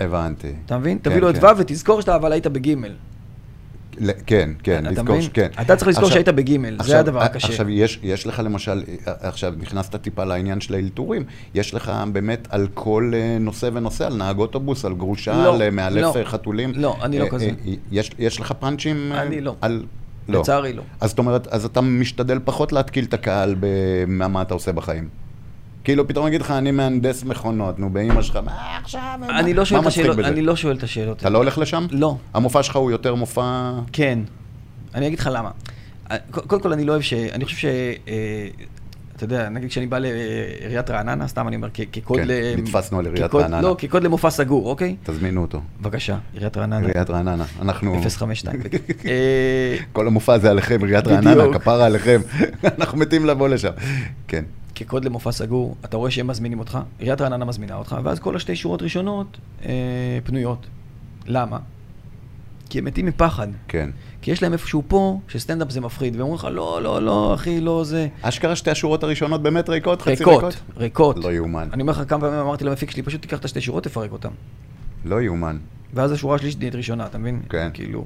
S2: הבנתי.
S3: אתה מבין?
S2: כן,
S3: תביא לו את
S2: כן.
S3: ו' ותזכור שאתה אבל היית בג'.
S2: ל- כן, כן,
S3: אתה
S2: לזכור, ש-
S3: מבין?
S2: כן.
S3: אתה צריך לזכור
S2: עכשיו-
S3: שהיית בגימל, זה
S2: עכשיו-
S3: הדבר
S2: ע-
S3: הקשה.
S2: עכשיו, יש, יש לך למשל, אה, עכשיו נכנסת טיפה לעניין של האלתורים, יש לך באמת על כל אה, נושא ונושא, על נהג אוטובוס, על גרושה,
S3: לא,
S2: על אה, מאלף
S3: לא.
S2: אה, חתולים.
S3: לא, אני לא
S2: אה,
S3: כזה.
S2: אה, יש, יש לך פאנצ'ים? אה,
S3: אני לא.
S2: על... לא.
S3: לצערי לא.
S2: אז זאת אומרת, אז אתה משתדל פחות להתקיל את הקהל במה מה אתה עושה בחיים. כאילו, פתאום יגיד לך, אני מהנדס מכונות, נו, באמא שלך, מה עכשיו? מה-
S3: אני לא
S2: מה
S3: שואל את
S2: מצחיק
S3: השאלות,
S2: בזה?"
S3: אני לא שואל את השאלות.
S2: אתה לא הולך לשם?
S3: לא.
S2: המופע שלך הוא יותר מופע...
S3: כן. אני אגיד לך למה. אה, ק- קודם כל, אני לא אוהב ש... אני חושב ש... אה, אתה יודע, נגיד כשאני בא לעיריית רעננה, סתם אני אומר, כ- כקוד
S2: כן,
S3: ל...
S2: נתפסנו על עיריית
S3: כקוד-
S2: רעננה.
S3: לא, כקוד למופע סגור, אוקיי?
S2: תזמינו אותו.
S3: בבקשה, עיריית רעננה.
S2: עיריית רעננה. אנחנו... [LAUGHS]
S3: 052. אה,
S2: כל המופע זה עליכם, עיריית רעננה,
S3: בדיוק.
S2: כפרה עליכם. [LAUGHS] אנחנו מתים לבוא לשם. כן.
S3: כקוד למופע סגור, אתה רואה שהם מזמינים אותך, עיריית רעננה מזמינה אותך, ואז כל השתי שורות ראשונות אה, פנויות. למה? כי הם מתים מפחד.
S2: כן.
S3: כי יש להם איפשהו פה, שסטנדאפ זה מפחיד, והם אומרים לך, לא, לא, לא, אחי, לא זה.
S2: אשכרה שתי השורות הראשונות באמת ריקות, חצי ריקות.
S3: ריקות, ריקות.
S2: לא יאומן.
S3: אני אומר לך כמה פעמים אמרתי למפיק שלי, פשוט תיקח את השתי שורות, תפרק אותן.
S2: לא יאומן.
S3: ואז השורה השלישית נהיית ראשונה, אתה מבין?
S2: כן.
S3: כאילו,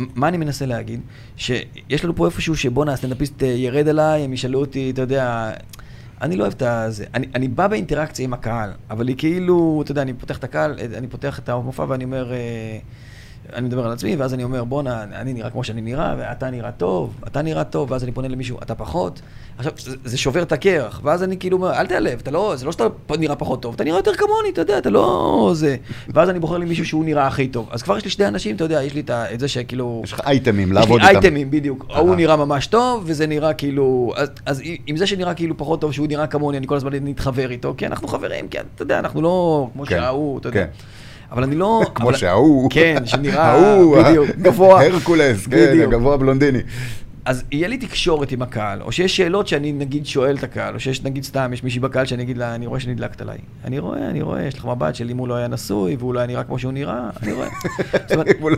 S3: מ- מה אני מנסה להגיד? שיש לנו פה איפשהו שבואנה, הסטנדאפיסט אה, ירד עליי, הם ישאלו אותי, אתה יודע, אני לא אוהב את הזה. אני, אני בא באינטראקציה עם הקהל, אבל היא כאילו, אתה יודע, אני פותח את הקהל, אה, אני פותח את המופע ואני אומר, אה, אני מדבר על עצמי, ואז אני אומר, בואנה, אני נראה כמו שאני נראה, ואתה נראה טוב, אתה נראה טוב, ואז אני פונה למישהו, אתה פחות. עכשיו, זה, זה שובר את הקרח, ואז אני כאילו אומר, אל תיעלב, אתה לא, זה לא שאתה פ- נראה פחות טוב, אתה נראה יותר כמוני, אתה יודע, אתה לא זה. ואז אני בוחר לי מישהו שהוא נראה הכי טוב. אז כבר יש לי שני אנשים, אתה יודע, יש לי את ה- את זה שכאילו...
S2: יש לך אייטמים לעבוד
S3: יש לי
S2: איתם.
S3: אייטמים, בדיוק.
S2: אהה.
S3: ההוא נראה ממש טוב, וזה נראה כאילו... אז, אז עם זה שנראה כאילו פחות טוב, שהוא נראה כמוני, אני כל הזמן נתחבר איתו, כי אנחנו חברים, כי אתה יודע, אנחנו לא כמו
S2: כן,
S3: שההוא, אתה יודע.
S2: כן.
S3: אבל אני לא...
S2: [LAUGHS] כמו
S3: אבל-
S2: שההוא,
S3: כן, שנראה...
S2: [LAUGHS] ההוא,
S3: בדיוק,
S2: ה-
S3: גבוה.
S2: [LAUGHS] הרקולס, כן,
S3: בדיוק.
S2: הגבוה הבלונדיני.
S3: אז יהיה לי תקשורת עם הקהל, או שיש שאלות שאני נגיד שואל את הקהל, או שיש נגיד סתם, יש מישהי בקהל שאני אגיד לה, אני רואה שנדלקת עליי. אני רואה, אני רואה, יש לך מבט של אם הוא לא היה נשוי, והוא לא היה נראה כמו שהוא נראה,
S2: [LAUGHS]
S3: אני רואה. זאת אומרת,
S2: אם הוא לא-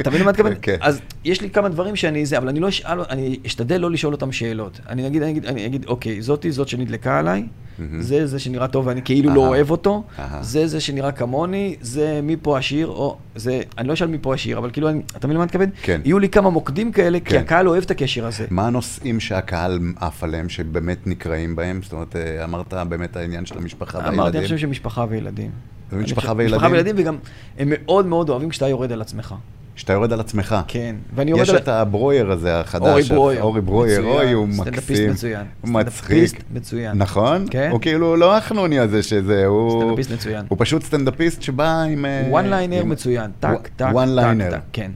S3: אתה מבין למה את מתכוון?
S2: כן.
S3: אז יש לי כמה דברים שאני זה, אבל אני לא אשאל, אני אשתדל לא לשאול אותם שאלות. אני אגיד, אני אגיד, אני אגיד אוקיי, זאתי זאת שנדלקה עליי,
S2: מהמם.
S3: זה זה שנראה טוב ואני כאילו לא
S2: אהה.
S3: אוהב אותו,
S2: אהה.
S3: זה זה שנראה כמוני, זה מפה השיר, או זה, אני לא אשאל מפה השיר, אבל כאילו, אני- אתה מבין למה אני מתכוון?
S2: כן.
S3: יהיו לי כמה מוקדים כאלה, כי
S2: כן.
S3: הקהל אוהב את הקשר הזה.
S2: מה הנושאים שהקהל עף עליהם, שבאמת נקראים בהם? זאת אומרת, אה, אמרת באמת העניין של המשפחה
S3: אמרתי, אני חושב
S2: והילדים.
S3: שמשפחה וילדים.
S2: זה
S3: אני
S2: משפחה
S3: חושב-
S2: וילדים?
S3: משפחה וילדים, וגם הם מאוד מאוד אוהבים כשאתה יורד על עצמך.
S2: שאתה יורד על עצמך.
S3: כן. ואני יורד
S2: יש
S3: על...
S2: את הברויר הזה החדש.
S3: אורי
S2: אח-
S3: ברויר.
S2: אורי ברויר,
S3: מצוין.
S2: אוי, הוא מקסים.
S3: סטנדאפיסט מצוין.
S2: הוא מצחיק.
S3: סטנדאפיסט מצוין.
S2: נכון?
S3: כן.
S2: הוא כאילו לא החנוני הזה שזה, הוא...
S3: סטנדאפיסט מצוין.
S2: הוא פשוט סטנדאפיסט שבא עם... אה,
S3: וואן ליינר
S2: עם-
S3: מצוין, טאק,
S2: וואן
S3: טאק,
S2: ליינר.
S3: טאק, טאק, כן,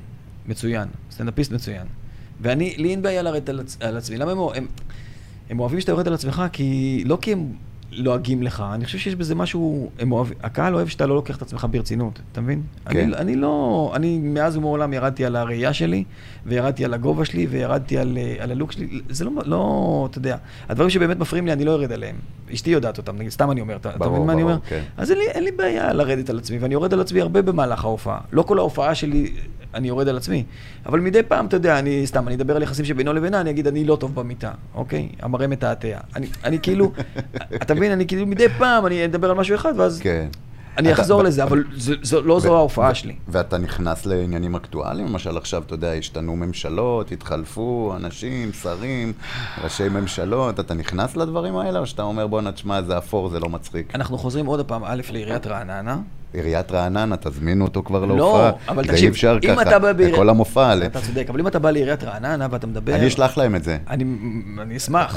S3: מצוין, סטנדאפיסט מצוין. ואני, לי אין בעיה לרדת על, עצ- על עצמי, למה הם, הם, הם אוהבים שאתה יורד על עצמך? כי לא כי הם לועגים לך, אני חושב שיש בזה משהו, הם אוהב, הקהל אוהב שאתה לא לוקח את עצמך ברצינות, אתה מבין?
S2: כן.
S3: אני, אני לא, אני מאז ומעולם ירדתי על הראייה שלי, וירדתי על הגובה שלי, וירדתי על, אה, על הלוק שלי, זה לא, לא, אתה יודע, הדברים שבאמת מפריעים לי, אני לא יורד עליהם. אשתי יודעת אותם, נגיד, סתם אני אומר, אתה, אתה
S2: ברור,
S3: מבין מה אני
S2: ברור,
S3: אומר?
S2: כן.
S3: אז אין לי, אין לי בעיה לרדת על עצמי, ואני יורד על עצמי הרבה במהלך ההופעה. לא כל ההופעה שלי, אני יורד על עצמי. אבל מדי פעם, אתה יודע, אני סתם, אני אדבר על יחסים שבינו לבינה, אני אגיד, אני לא טוב במיטה, אוקיי? המראה מתעתע. אני, אני
S2: [LAUGHS]
S3: כאילו, אתה מבין, אני כאילו מדי פעם, אני אדבר על משהו אחד, ואז
S2: כן.
S3: אני
S2: אתה-
S3: אחזור
S2: ב-
S3: לזה, אבל זה, זה, לא
S2: ו-
S3: זו ההופעה
S2: ו-
S3: שלי.
S2: ואתה נכנס לעניינים אקטואליים, למשל עכשיו, אתה יודע, השתנו ממשלות, התחלפו אנשים, שרים, ראשי ממשלות, אתה נכנס לדברים האלה, או שאתה אומר, בואנה, תשמע, זה אפור, זה לא מצחיק?
S3: אנחנו חוזרים עוד פעם, א', לעיריית רעננה.
S2: עיריית רעננה, תזמינו אותו כבר
S3: לא,
S2: להופעה.
S3: אבל
S2: זה
S3: תקשיב,
S2: אי אפשר
S3: אם
S2: ככה,
S3: אתה בא
S2: זה
S3: בעיר-
S2: כל המופע. ל-
S3: אתה צודק, אבל אם אתה בא לעיריית רעננה ואתה מדבר...
S2: אני אשלח להם את זה. אה,
S3: אני, אני אשמח.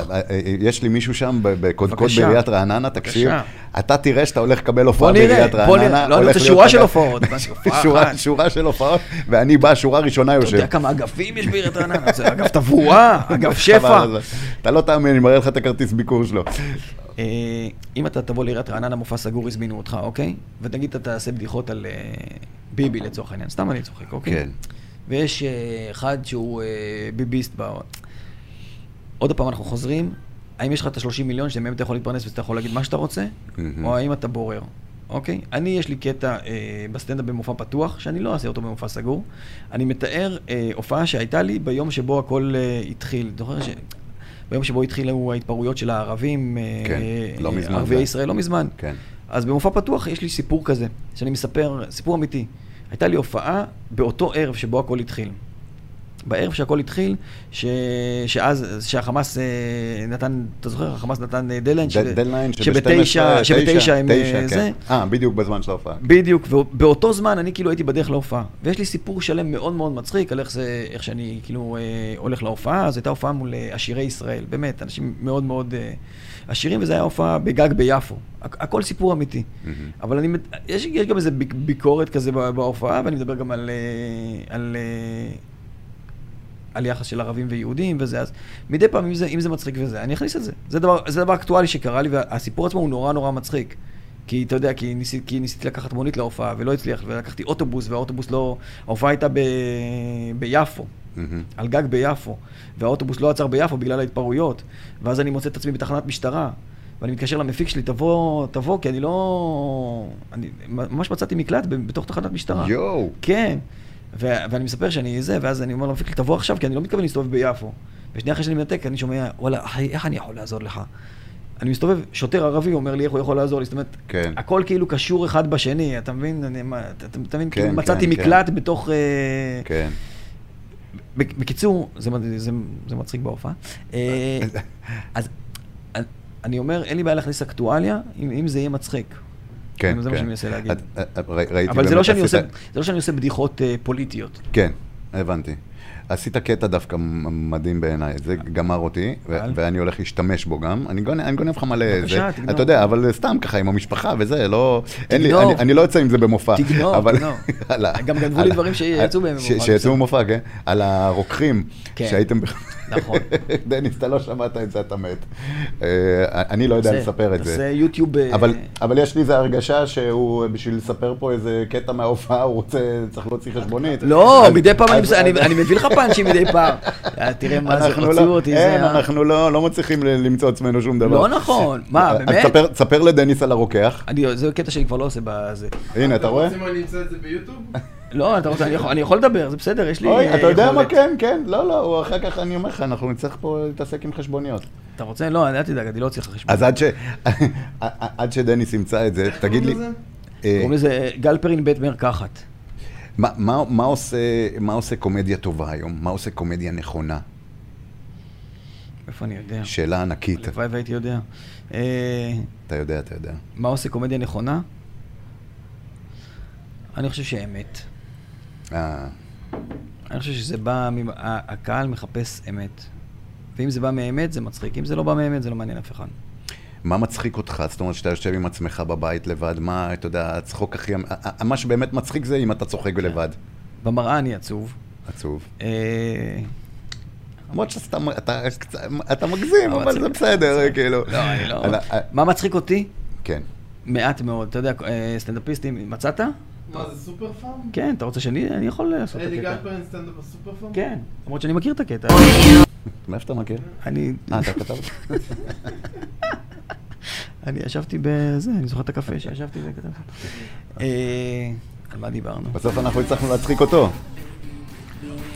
S2: יש לי מישהו שם ב- בקודקוד
S3: בבקשה.
S2: בעיריית רעננה, תקשיב,
S3: בבקשה.
S2: אתה תראה שאתה הולך לקבל
S3: בוא
S2: הופעה
S3: נראה,
S2: בעיריית רעננה.
S3: בוא נראה. לא, אני
S2: הולך
S3: רוצה
S2: להיות
S3: שורה של
S2: אתה-
S3: הופעות.
S2: [LAUGHS]
S3: הופעה
S2: שורה-
S3: אחת.
S2: שורה של הופעות, ואני בא, שורה ראשונה
S3: אתה
S2: יושב. [LAUGHS]
S3: יודע כמה אגפים יש בעיריית רעננה? זה אגף תברואה, אגף שפע.
S2: חבל על זה. אתה לא תאמין, אני מראה לך את הכרטיס ביקור שלו.
S3: אה, אם אתה תבוא לעיריית רעננה, מופע סגור, הזמינו אותך, אוקיי? ותגיד אתה תעשה בדיחות על אה, ביבי לצורך העניין, סתם אני צוחק, אוקיי?
S2: כן.
S3: ויש אה, אחד שהוא אה, ביביסט ב... עוד פעם אנחנו חוזרים, האם יש לך את ה-30 מיליון שמהם אתה יכול להתפרנס ואתה יכול להגיד מה שאתה רוצה,
S2: מהמם.
S3: או האם אתה בורר, אוקיי? אני, יש לי קטע אה, בסטנדאפ במופע פתוח, שאני לא אעשה אותו במופע סגור. אני מתאר אה, הופעה שהייתה לי ביום שבו הכל אה, התחיל. זוכר ש... ביום שבו התחילו ההתפרעויות של הערבים, אה,
S2: כן, לא מזמן
S3: ערביי
S2: זה.
S3: ישראל, לא מזמן.
S2: כן.
S3: אז במופע פתוח יש לי סיפור כזה, שאני מספר, סיפור אמיתי. הייתה לי הופעה באותו ערב שבו הכל התחיל. בערב שהכל התחיל, ש... שאז, שהחמאס אה, נתן, אתה זוכר, החמאס נתן אה, דדליין, ש-
S2: ד- דדליין שב-12,
S3: שבתשע, שבתשע הם
S2: תשע,
S3: אה,
S2: כן.
S3: זה.
S2: אה, בדיוק בזמן של ההופעה.
S3: בדיוק, ובאותו זמן אני כאילו הייתי בדרך להופעה. ויש לי סיפור שלם מאוד מאוד מצחיק על איך זה, איך שאני כאילו אה, הולך להופעה. זו הייתה הופעה מול אה, עשירי ישראל, באמת, אנשים מאוד מאוד אה, עשירים, וזו הייתה הופעה בגג ביפו. הכ- הכל סיפור אמיתי.
S2: מהמם.
S3: אבל אני, מת- יש, יש גם איזה ביק- ביקורת כזה ב- בהופעה, ואני מדבר גם על, אה, על, אה, על יחס של ערבים ויהודים וזה, אז מדי פעם, אם זה, אם זה מצחיק וזה, אני אכניס את זה. זה דבר, זה דבר אקטואלי שקרה לי, והסיפור עצמו הוא נורא נורא מצחיק. כי אתה יודע, כי, ניסי, כי ניסיתי לקחת מונית להופעה ולא הצליח, ולקחתי אוטובוס, והאוטובוס לא... ההופעה הייתה ב, ביפו.
S2: מהמם.
S3: על גג ביפו, והאוטובוס לא עצר ביפו בגלל ההתפרעויות, ואז אני מוצא את עצמי בתחנת משטרה, ואני מתקשר למפיק שלי, תבוא, תבוא, כי אני לא... אני ממש מצאתי מקלט ב- בתוך תחנת משטרה.
S2: יואו.
S3: כן. ו- ואני מספר שאני זה, ואז אני אומר למפיק, תבוא עכשיו, כי אני לא מתכוון להסתובב ביפו. ושנייה אחרי שאני מנתק, אני שומע, וואלה, אחי, איך אני יכול לעזור לך? אני מסתובב, שוטר ערבי אומר לי איך הוא יכול לעזור לי, זאת אומרת,
S2: כן.
S3: הכל כאילו קשור אחד בשני, אתה מבין? אני, מה, אתה, אתה מבין?
S2: כן,
S3: כאילו
S2: כן,
S3: מצאתי
S2: כן.
S3: מקלט בתוך... אה,
S2: כן.
S3: בק- בקיצור, זה, מד- זה, זה מצחיק בהופעה.
S2: [LAUGHS]
S3: אה, אז אני- אני אומר, אין לי בעיה להכניס אקטואליה, אם, אם זה יהיה מצחיק.
S2: כן,
S3: זה מה
S2: כן.
S3: שאני מנסה להגיד.
S2: את- את- ר- ראיתי
S3: אבל זה
S2: באמת
S3: לא, שאני
S2: עשית-
S3: עושה, זה לא שאני עושה בדיחות אה, פוליטיות.
S2: כן, הבנתי. עשית קטע דווקא מ- מדהים בעיניי, זה גמר אותי, ו-
S3: על?
S2: ואני הולך להשתמש בו גם. אני גונב אני גונב לך מלא
S3: בבקשה,
S2: איזה,
S3: תגנוב.
S2: אתה יודע, אבל סתם ככה עם המשפחה וזה, לא... אין לי,
S3: תגנוב.
S2: אני- אני לא יוצא עם זה במופע.
S3: תגנוב,
S2: אבל-
S3: תגנוב.
S2: [LAUGHS] על ה-
S3: גם גנבו
S2: על
S3: לי
S2: ה-
S3: דברים שיצאו בהם
S2: ש-
S3: במופע,
S2: שיצאו במופע, כן. על הרוקחים,
S3: כן.
S2: שהייתם... ב-
S3: נכון.
S2: [LAUGHS] דניס, אתה לא שמעת את זה, אתה מת. אה, אני לא יודע
S3: תעשה-
S2: לספר את זה.
S3: תעשה יוטיוב... אה,
S2: אבל, אבל יש לי איזו הרגשה שהוא, בשביל לספר פה איזה קטע מההופעה, הוא רוצה, צריך להוציא חשבונית.
S3: לא,
S2: אז-
S3: מדי פעם אני
S2: אז-
S3: מס- אני
S2: אז-
S3: אני מביא לך פאנצ'ים מדי
S2: [LAUGHS]
S3: פעם. אה, תראה מה זה,
S2: אנחנו
S3: הוציאו
S2: לא-
S3: אותי, זה...
S2: אין,
S3: ה-
S2: אנחנו לא, לא מצליחים ל- למצוא עצמנו שום דבר.
S3: לא נכון, מה,
S2: אז
S3: באמת?
S2: תספר- תספר לדניס על הרוקח.
S3: אני- זה קטע שאני כבר לא עושה בזה.
S2: הנה, אתה רואה?
S4: רוצים אני אמצא את זה ביוטיוב?
S3: לא, אתה רוצה, אני יכול- אני יכול לדבר, זה בסדר, יש לי...
S2: אוי,
S3: אה,
S2: אתה יודע מה?
S3: יכולת.
S2: כן, כן, לא, לא, הוא אחר כך, אני אומר לך, אנחנו נצטרך פה להתעסק עם חשבוניות.
S3: אתה רוצה? לא, אל תדאג, אני לא אוציא לך חשבון.
S2: אז עד ש- [LAUGHS] עד שדניס ימצא את זה,
S4: איך
S2: תגיד לי...
S4: קוראים לזה?
S2: אה,
S3: קוראים לזה גלפרין בית מרקחת.
S2: מה, מה, מה, עושה, מה עושה קומדיה טובה היום? מה עושה קומדיה נכונה?
S3: איפה אני יודע?
S2: שאלה ענקית.
S3: הלוואי והייתי יודע. אה,
S2: אתה יודע, אתה יודע.
S3: מה עושה קומדיה נכונה? אני חושב שאמת.
S2: אה,
S3: אני חושב שזה בא, ממ- ה- הקהל מחפש אמת. ואם זה בא מאמת, זה מצחיק. אם זה לא בא מאמת, זה לא מעניין אף אחד.
S2: מה מצחיק אותך? זאת אומרת, שאתה יושב עם עצמך בבית לבד, מה, אתה יודע, הצחוק הכי... אמ- ה- ה- מה שבאמת מצחיק זה אם אתה צוחק
S3: כן.
S2: לבד.
S3: במראה אני עצוב.
S2: עצוב.
S3: אה,
S2: למרות שאתה אתה, אתה, אתה מגזים,
S3: לא
S2: אבל
S3: מצחיק,
S2: זה בסדר, כאילו.
S3: לא, אני לא...
S2: אלא, אה,
S3: מה מצחיק אותי?
S2: כן.
S3: מעט מאוד. אתה יודע, אה, סטנדאפיסטים, מצאת?
S4: מה זה סופר פארם?
S3: כן, אתה רוצה שאני אני יכול לעשות את
S4: אלי
S3: הקטע.
S4: גלפרין סטנדאפ בסופר פארם?
S3: כן, למרות שאני מכיר את הקטע.
S2: מאיפה אתה
S3: [LAUGHS]
S2: מכיר?
S3: אני...
S2: אה, אתה כתבת?
S3: אני ישבתי בזה, אני זוכר את הקפה שישבתי וכתבתי. על מה דיברנו?
S2: בסוף אנחנו הצלחנו להצחיק אותו.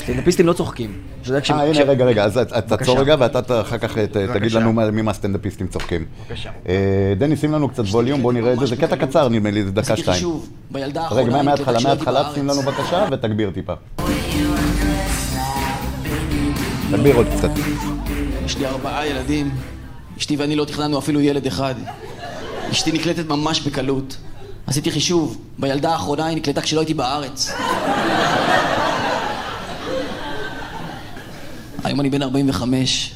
S3: סטנדאפיסטים לא צוחקים. אתה יודע, כש-
S2: אה,
S3: כש-
S2: הנה, רגע, רגע, אז אתה
S3: בבקשה.
S2: תעצור רגע ואתה ת- אחר כך ת- תגיד
S3: בבקשה.
S2: לנו מה- ממה הסטנדאפיסטים צוחקים.
S3: בבקשה.
S2: אה, דני, שים לנו קצת ווליום, בוא נראה את זה. זה קטע קצר, נדמה לי, זה דקה,
S5: עשיתי
S2: שתיים.
S5: חישוב, בילדה האחרונה...
S2: רגע, מה-
S5: עם
S2: מההתחלה,
S5: קטע שלא הייתי
S2: מההתחלה, שים לנו
S5: בארץ.
S2: בבקשה ותגביר טיפה. תגביר עוד קצת.
S5: יש לי ארבעה ילדים, אשתי ואני לא תכננו אפילו ילד אחד. אשתי נקלטת ממש בקלות. עשיתי חישוב, בילדה האחרונה היא נקלטה כשלא הייתי בארץ. היום אני בן 45.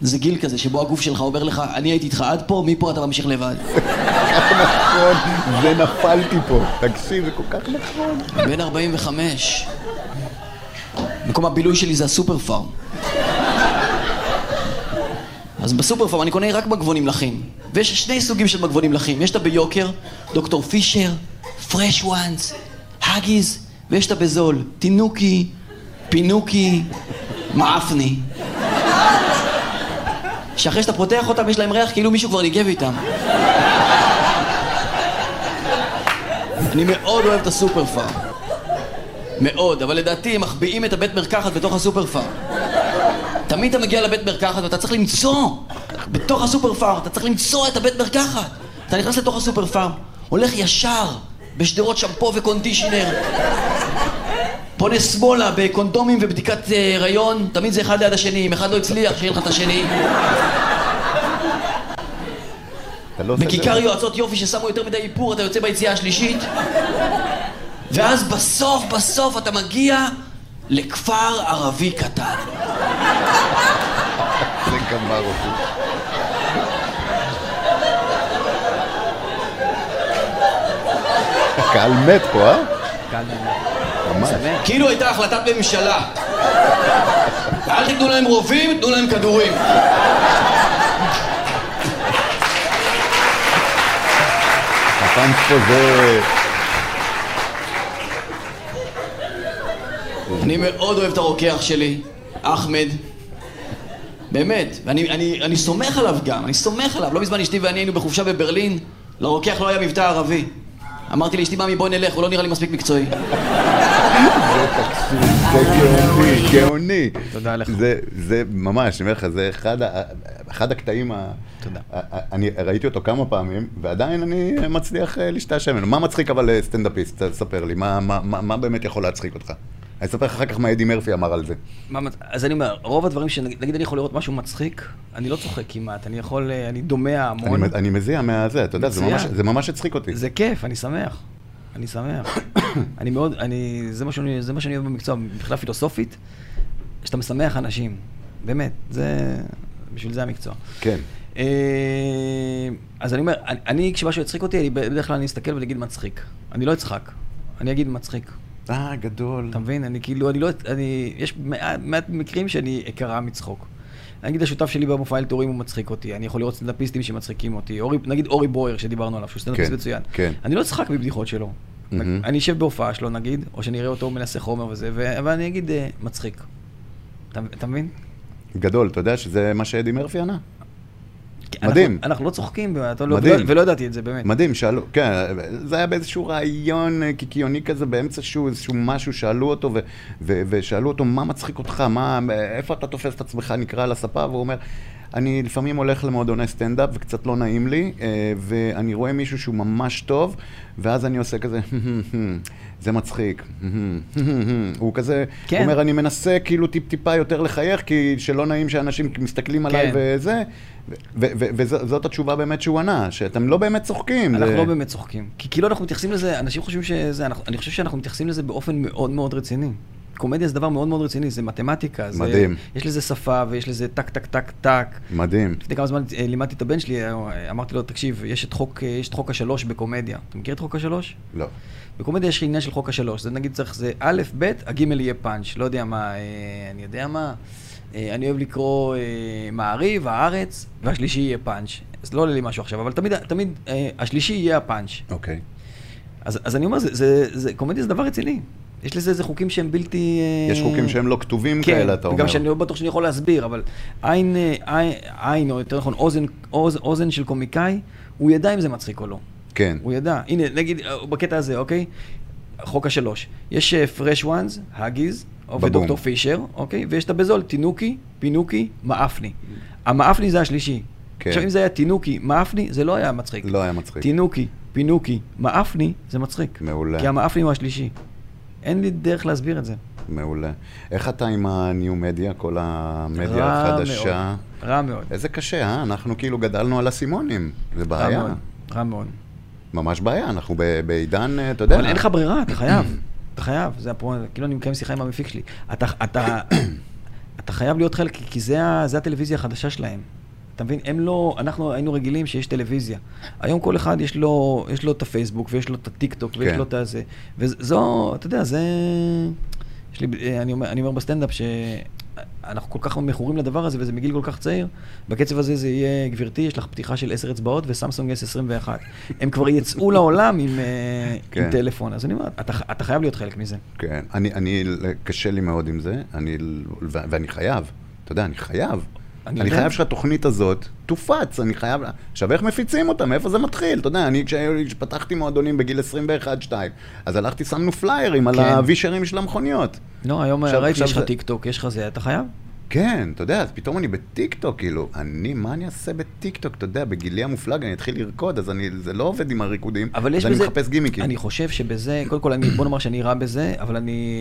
S5: זה גיל כזה שבו הגוף שלך אומר לך, אני הייתי איתך עד פה, מפה אתה ממשיך לבד.
S2: נכון, זה נפלתי פה. תקשיב, זה כל כך נכון.
S5: בן 45. מקום הבילוי שלי זה הסופר פארם. אז בסופר פארם אני קונה רק מגבונים לחים. ויש שני סוגים של מגבונים לחים. יש את הביוקר, דוקטור פישר, פרש וואנס, האגיז, ויש את הבזול, תינוקי, פינוקי, מעפני. שאחרי שאתה פותח אותם יש להם ריח כאילו מישהו כבר ניגב איתם. אני מאוד אוהב את הסופר פארם. מאוד, אבל לדעתי הם מחביאים את הבית מרקחת בתוך הסופר פארם. תמיד אתה מגיע לבית מרקחת ואתה צריך למצוא, בתוך הסופר פארם, אתה צריך למצוא את הבית מרקחת. אתה נכנס לתוך הסופר פארם, הולך ישר בשדרות שמפו וקונדישנר. פונה שמאלה בקונדומים ובדיקת אה, הריון, תמיד זה אחד ליד השני, אם אחד לא הצליח, שיהיה לך את השני.
S2: אתה לא עושה את זה.
S5: בכיכר יועצות יופי ששמו יותר מדי איפור, אתה יוצא ביציאה השלישית. ואז בסוף, בסוף אתה מגיע לכפר ערבי קטן.
S2: זה גמר אותי. הקהל מת פה, אה?
S3: קהל נהנה.
S2: ממש.
S5: כאילו הייתה החלטת ממשלה. אל תיתנו להם רובים, תנו להם כדורים.
S2: הפאנץ' פה זה...
S5: אני מאוד אוהב את הרוקח שלי, אחמד. באמת, ואני אני, אני סומך עליו גם, אני סומך עליו. לא מזמן אשתי ואני היינו בחופשה בברלין, לרוקח לא היה מבטא ערבי. אמרתי לאשתי, ממי, בואי נלך, הוא לא נראה לי מספיק מקצועי.
S2: זה גאוני, גאוני.
S3: תודה לך.
S2: זה, זה ממש, אני אומר לך, זה אחד, ה- אחד הקטעים ה...
S3: תודה.
S2: ה- ה- אני ראיתי אותו כמה פעמים, ועדיין אני מצליח אה, להשתעשע ממנו. מה מצחיק אבל אה, סטנדאפיסט? ת- ספר לי, מה, מה, מה, מה באמת יכול להצחיק אותך? אני אספר לך אחר כך מה אדי מרפי אמר על זה.
S3: מה מצ- אז אני אומר, רוב הדברים שנגיד נגיד אני יכול לראות משהו מצחיק, אני לא צוחק כמעט, אני יכול, אה, אני דומע המון.
S2: אני, אני מזיע מהזה, אתה יודע, זה
S3: מצוין.
S2: ממש, זה ממש הצחיק אותי.
S3: זה כיף, אני שמח. אני שמח. [COUGHS] אני מאוד, אני, זה מה שאני, זה מה שאני אוהב במקצוע, מבחינה פילוסופית, שאתה משמח אנשים. באמת, זה, בשביל זה המקצוע.
S2: כן.
S3: אה, אז אני אומר, אני, אני כשמשהו יצחיק אותי, אני בדרך כלל אני אסתכל ואני אגיד מצחיק. אני לא אצחק, אני אגיד מצחיק.
S2: אה, גדול.
S3: אתה מבין? אני כאילו, אני לא, אני, יש מעט, מעט מקרים שאני אקרע מצחוק. נגיד השותף שלי במופע אל תורים הוא מצחיק אותי, אני יכול לראות סטנדאפיסטים שמצחיקים אותי, אורי, נגיד אורי בויר שדיברנו עליו, שהוא סטנדאפיסט
S2: כן,
S3: מצוין.
S2: כן.
S3: אני לא אצחק מבדיחות שלו.
S2: מהמם.
S3: אני אשב בהופעה שלו נגיד, או שאני אראה אותו מנסה חומר וזה, ו... אבל אני אגיד אה, מצחיק. אתה, אתה מבין?
S2: גדול, אתה יודע שזה מה שאדי מרפי ענה?
S3: כי
S2: מדהים.
S3: אנחנו, אנחנו לא צוחקים, ואתה לא,
S2: מדהים.
S3: ולא, ולא ידעתי את זה באמת.
S2: מדהים, שאלו, כן, זה היה באיזשהו רעיון אה, קיקיוני כזה, באמצע שהוא, איזשהו משהו, שאלו אותו, ו, ו, ושאלו אותו, מה מצחיק אותך, מה, איפה אתה תופס את עצמך, נקרא על הספה, והוא אומר, אני לפעמים הולך למועדוני סטנדאפ וקצת לא נעים לי, אה, ואני רואה מישהו שהוא ממש טוב, ואז אני עושה כזה, זה מצחיק. הוא כזה,
S3: כן.
S2: הוא אומר, אני מנסה כאילו טיפ-טיפה יותר לחייך, כי שלא נעים שאנשים מסתכלים עליי
S3: כן.
S2: וזה, ו- ו- ו- וזאת התשובה באמת שהוא ענה, שאתם לא באמת צוחקים.
S3: אנחנו
S2: זה-
S3: לא באמת צוחקים. כי כאילו אנחנו מתייחסים לזה, אנשים חושבים שזה, אנחנו, אני חושב שאנחנו מתייחסים לזה באופן מאוד מאוד רציני. קומדיה זה דבר מאוד מאוד רציני, זה מתמטיקה. זה,
S2: מדהים.
S3: יש לזה שפה ויש לזה טק, טק, טק, טק.
S2: מדהים.
S3: לפני כמה זמן אה, לימדתי את הבן שלי, אה, אמרתי לו, תקשיב, יש את חוק, אה, יש את חוק השלוש בקומדיה. אתה מכיר את חוק השלוש?
S2: לא.
S3: בקומדיה יש עניין של חוק השלוש, זה נגיד צריך, זה א', ב', הגימל יהיה פאנץ', לא יודע מה, אה, אני יודע מה, אה, אני אוהב לקרוא אה, מעריב, הארץ, והשלישי יהיה פאנץ'. אז לא עולה לי משהו עכשיו, אבל תמיד, תמיד אה, השלישי יהיה הפאנץ'.
S2: אוקיי.
S3: אז, אז אני אומר, זה, זה, זה, קומדיה זה דבר רציני. יש לזה איזה חוקים שהם בלתי... אה,
S2: יש חוקים שהם לא כתובים כאלה, אתה אומר.
S3: וגם שאני לא בטוח שאני יכול להסביר, אבל עין, אה, עין, עין או יותר נכון, אוזן, אוז, אוזן של קומיקאי, הוא ידע אם זה מצחיק או לא.
S2: כן.
S3: הוא ידע. הנה, נגיד, אה, בקטע הזה, אוקיי? חוק השלוש. יש אה, פרש וואנס, האגיז,
S2: בבום.
S3: ודוקטור פישר, אוקיי? ויש את הבזול, תינוקי, פינוקי, מאפני. המאפני זה השלישי.
S2: כן.
S3: עכשיו, אם זה היה תינוקי, מאפני, זה לא היה מצחיק.
S2: לא היה מצחיק.
S3: תינוקי, פינוקי, מאפני, זה מצחיק.
S2: מעולה.
S3: כי המאפני הוא השלישי. אין לי דרך להסביר את זה.
S2: מעולה. איך אתה עם הניו-מדיה, כל המדיה
S3: רע
S2: החדשה?
S3: מאוד, רע מאוד.
S2: איזה קשה, אה? אנחנו כאילו גדלנו על אסימונים. זה
S3: רע
S2: בעיה.
S3: מאוד. רע מאוד.
S2: ממש בעיה, אנחנו ב- בעידן, אה, אתה יודע.
S3: אבל אין לך ברירה, אתה חייב. אתה חייב, זה הפרונט. כאילו אני מקיים שיחה עם המפיק שלי. אתה, אתה, אתה חייב להיות חלק, כי- כי זה, ה- זה הטלוויזיה החדשה שלהם. אתה מבין? הם לא, אנחנו היינו רגילים שיש טלוויזיה. היום כל אחד יש לו, יש לו את הפייסבוק, ויש לו את הטיק טוק, ויש
S2: כן.
S3: לו את הזה. וזו, אתה יודע, זה... יש לי, אה, אני אומר, אני אומר בסטנדאפ שאנחנו כל כך מכורים לדבר הזה, וזה מגיל כל כך צעיר, בקצב הזה זה יהיה, גברתי, יש לך פתיחה של עשר אצבעות וסמסונג S21. הם כבר יצאו לעולם עם, אה,
S2: כן.
S3: עם טלפון, אז אני אומר, אתה, אתה חייב להיות חלק מזה.
S2: כן. אני, אני, קשה לי מאוד עם זה, אני, ו- ואני חייב. אתה יודע, אני חייב.
S3: אני
S2: אני, אני
S3: יודע.
S2: חייב שהתוכנית הזאת תופץ, אני חייב... עכשיו, איך מפיצים אותה? מאיפה זה מתחיל? אתה יודע, אני כשהיו- כשפתחתי מועדונים בגיל 21-2, אז הלכתי, שמנו פליירים על
S3: כן.
S2: הווישרים של המכוניות.
S3: לא, היום
S2: עכשיו-
S3: ראיתי,
S2: עכשיו
S3: יש לך
S2: זה-
S3: טיק טוק, יש לך זה, אתה חייב?
S2: כן, אתה יודע, אז פתאום אני בטיקטוק, כאילו, אני, מה אני אעשה בטיקטוק? אתה יודע, בגילי המופלג אני אתחיל לרקוד, אז אני, זה לא עובד עם הריקודים,
S3: אבל יש
S2: אז
S3: בזה...
S2: אני מחפש גימיקים.
S3: אני חושב שבזה, קודם כל, אני, בוא נאמר שאני רע בזה, אבל אני...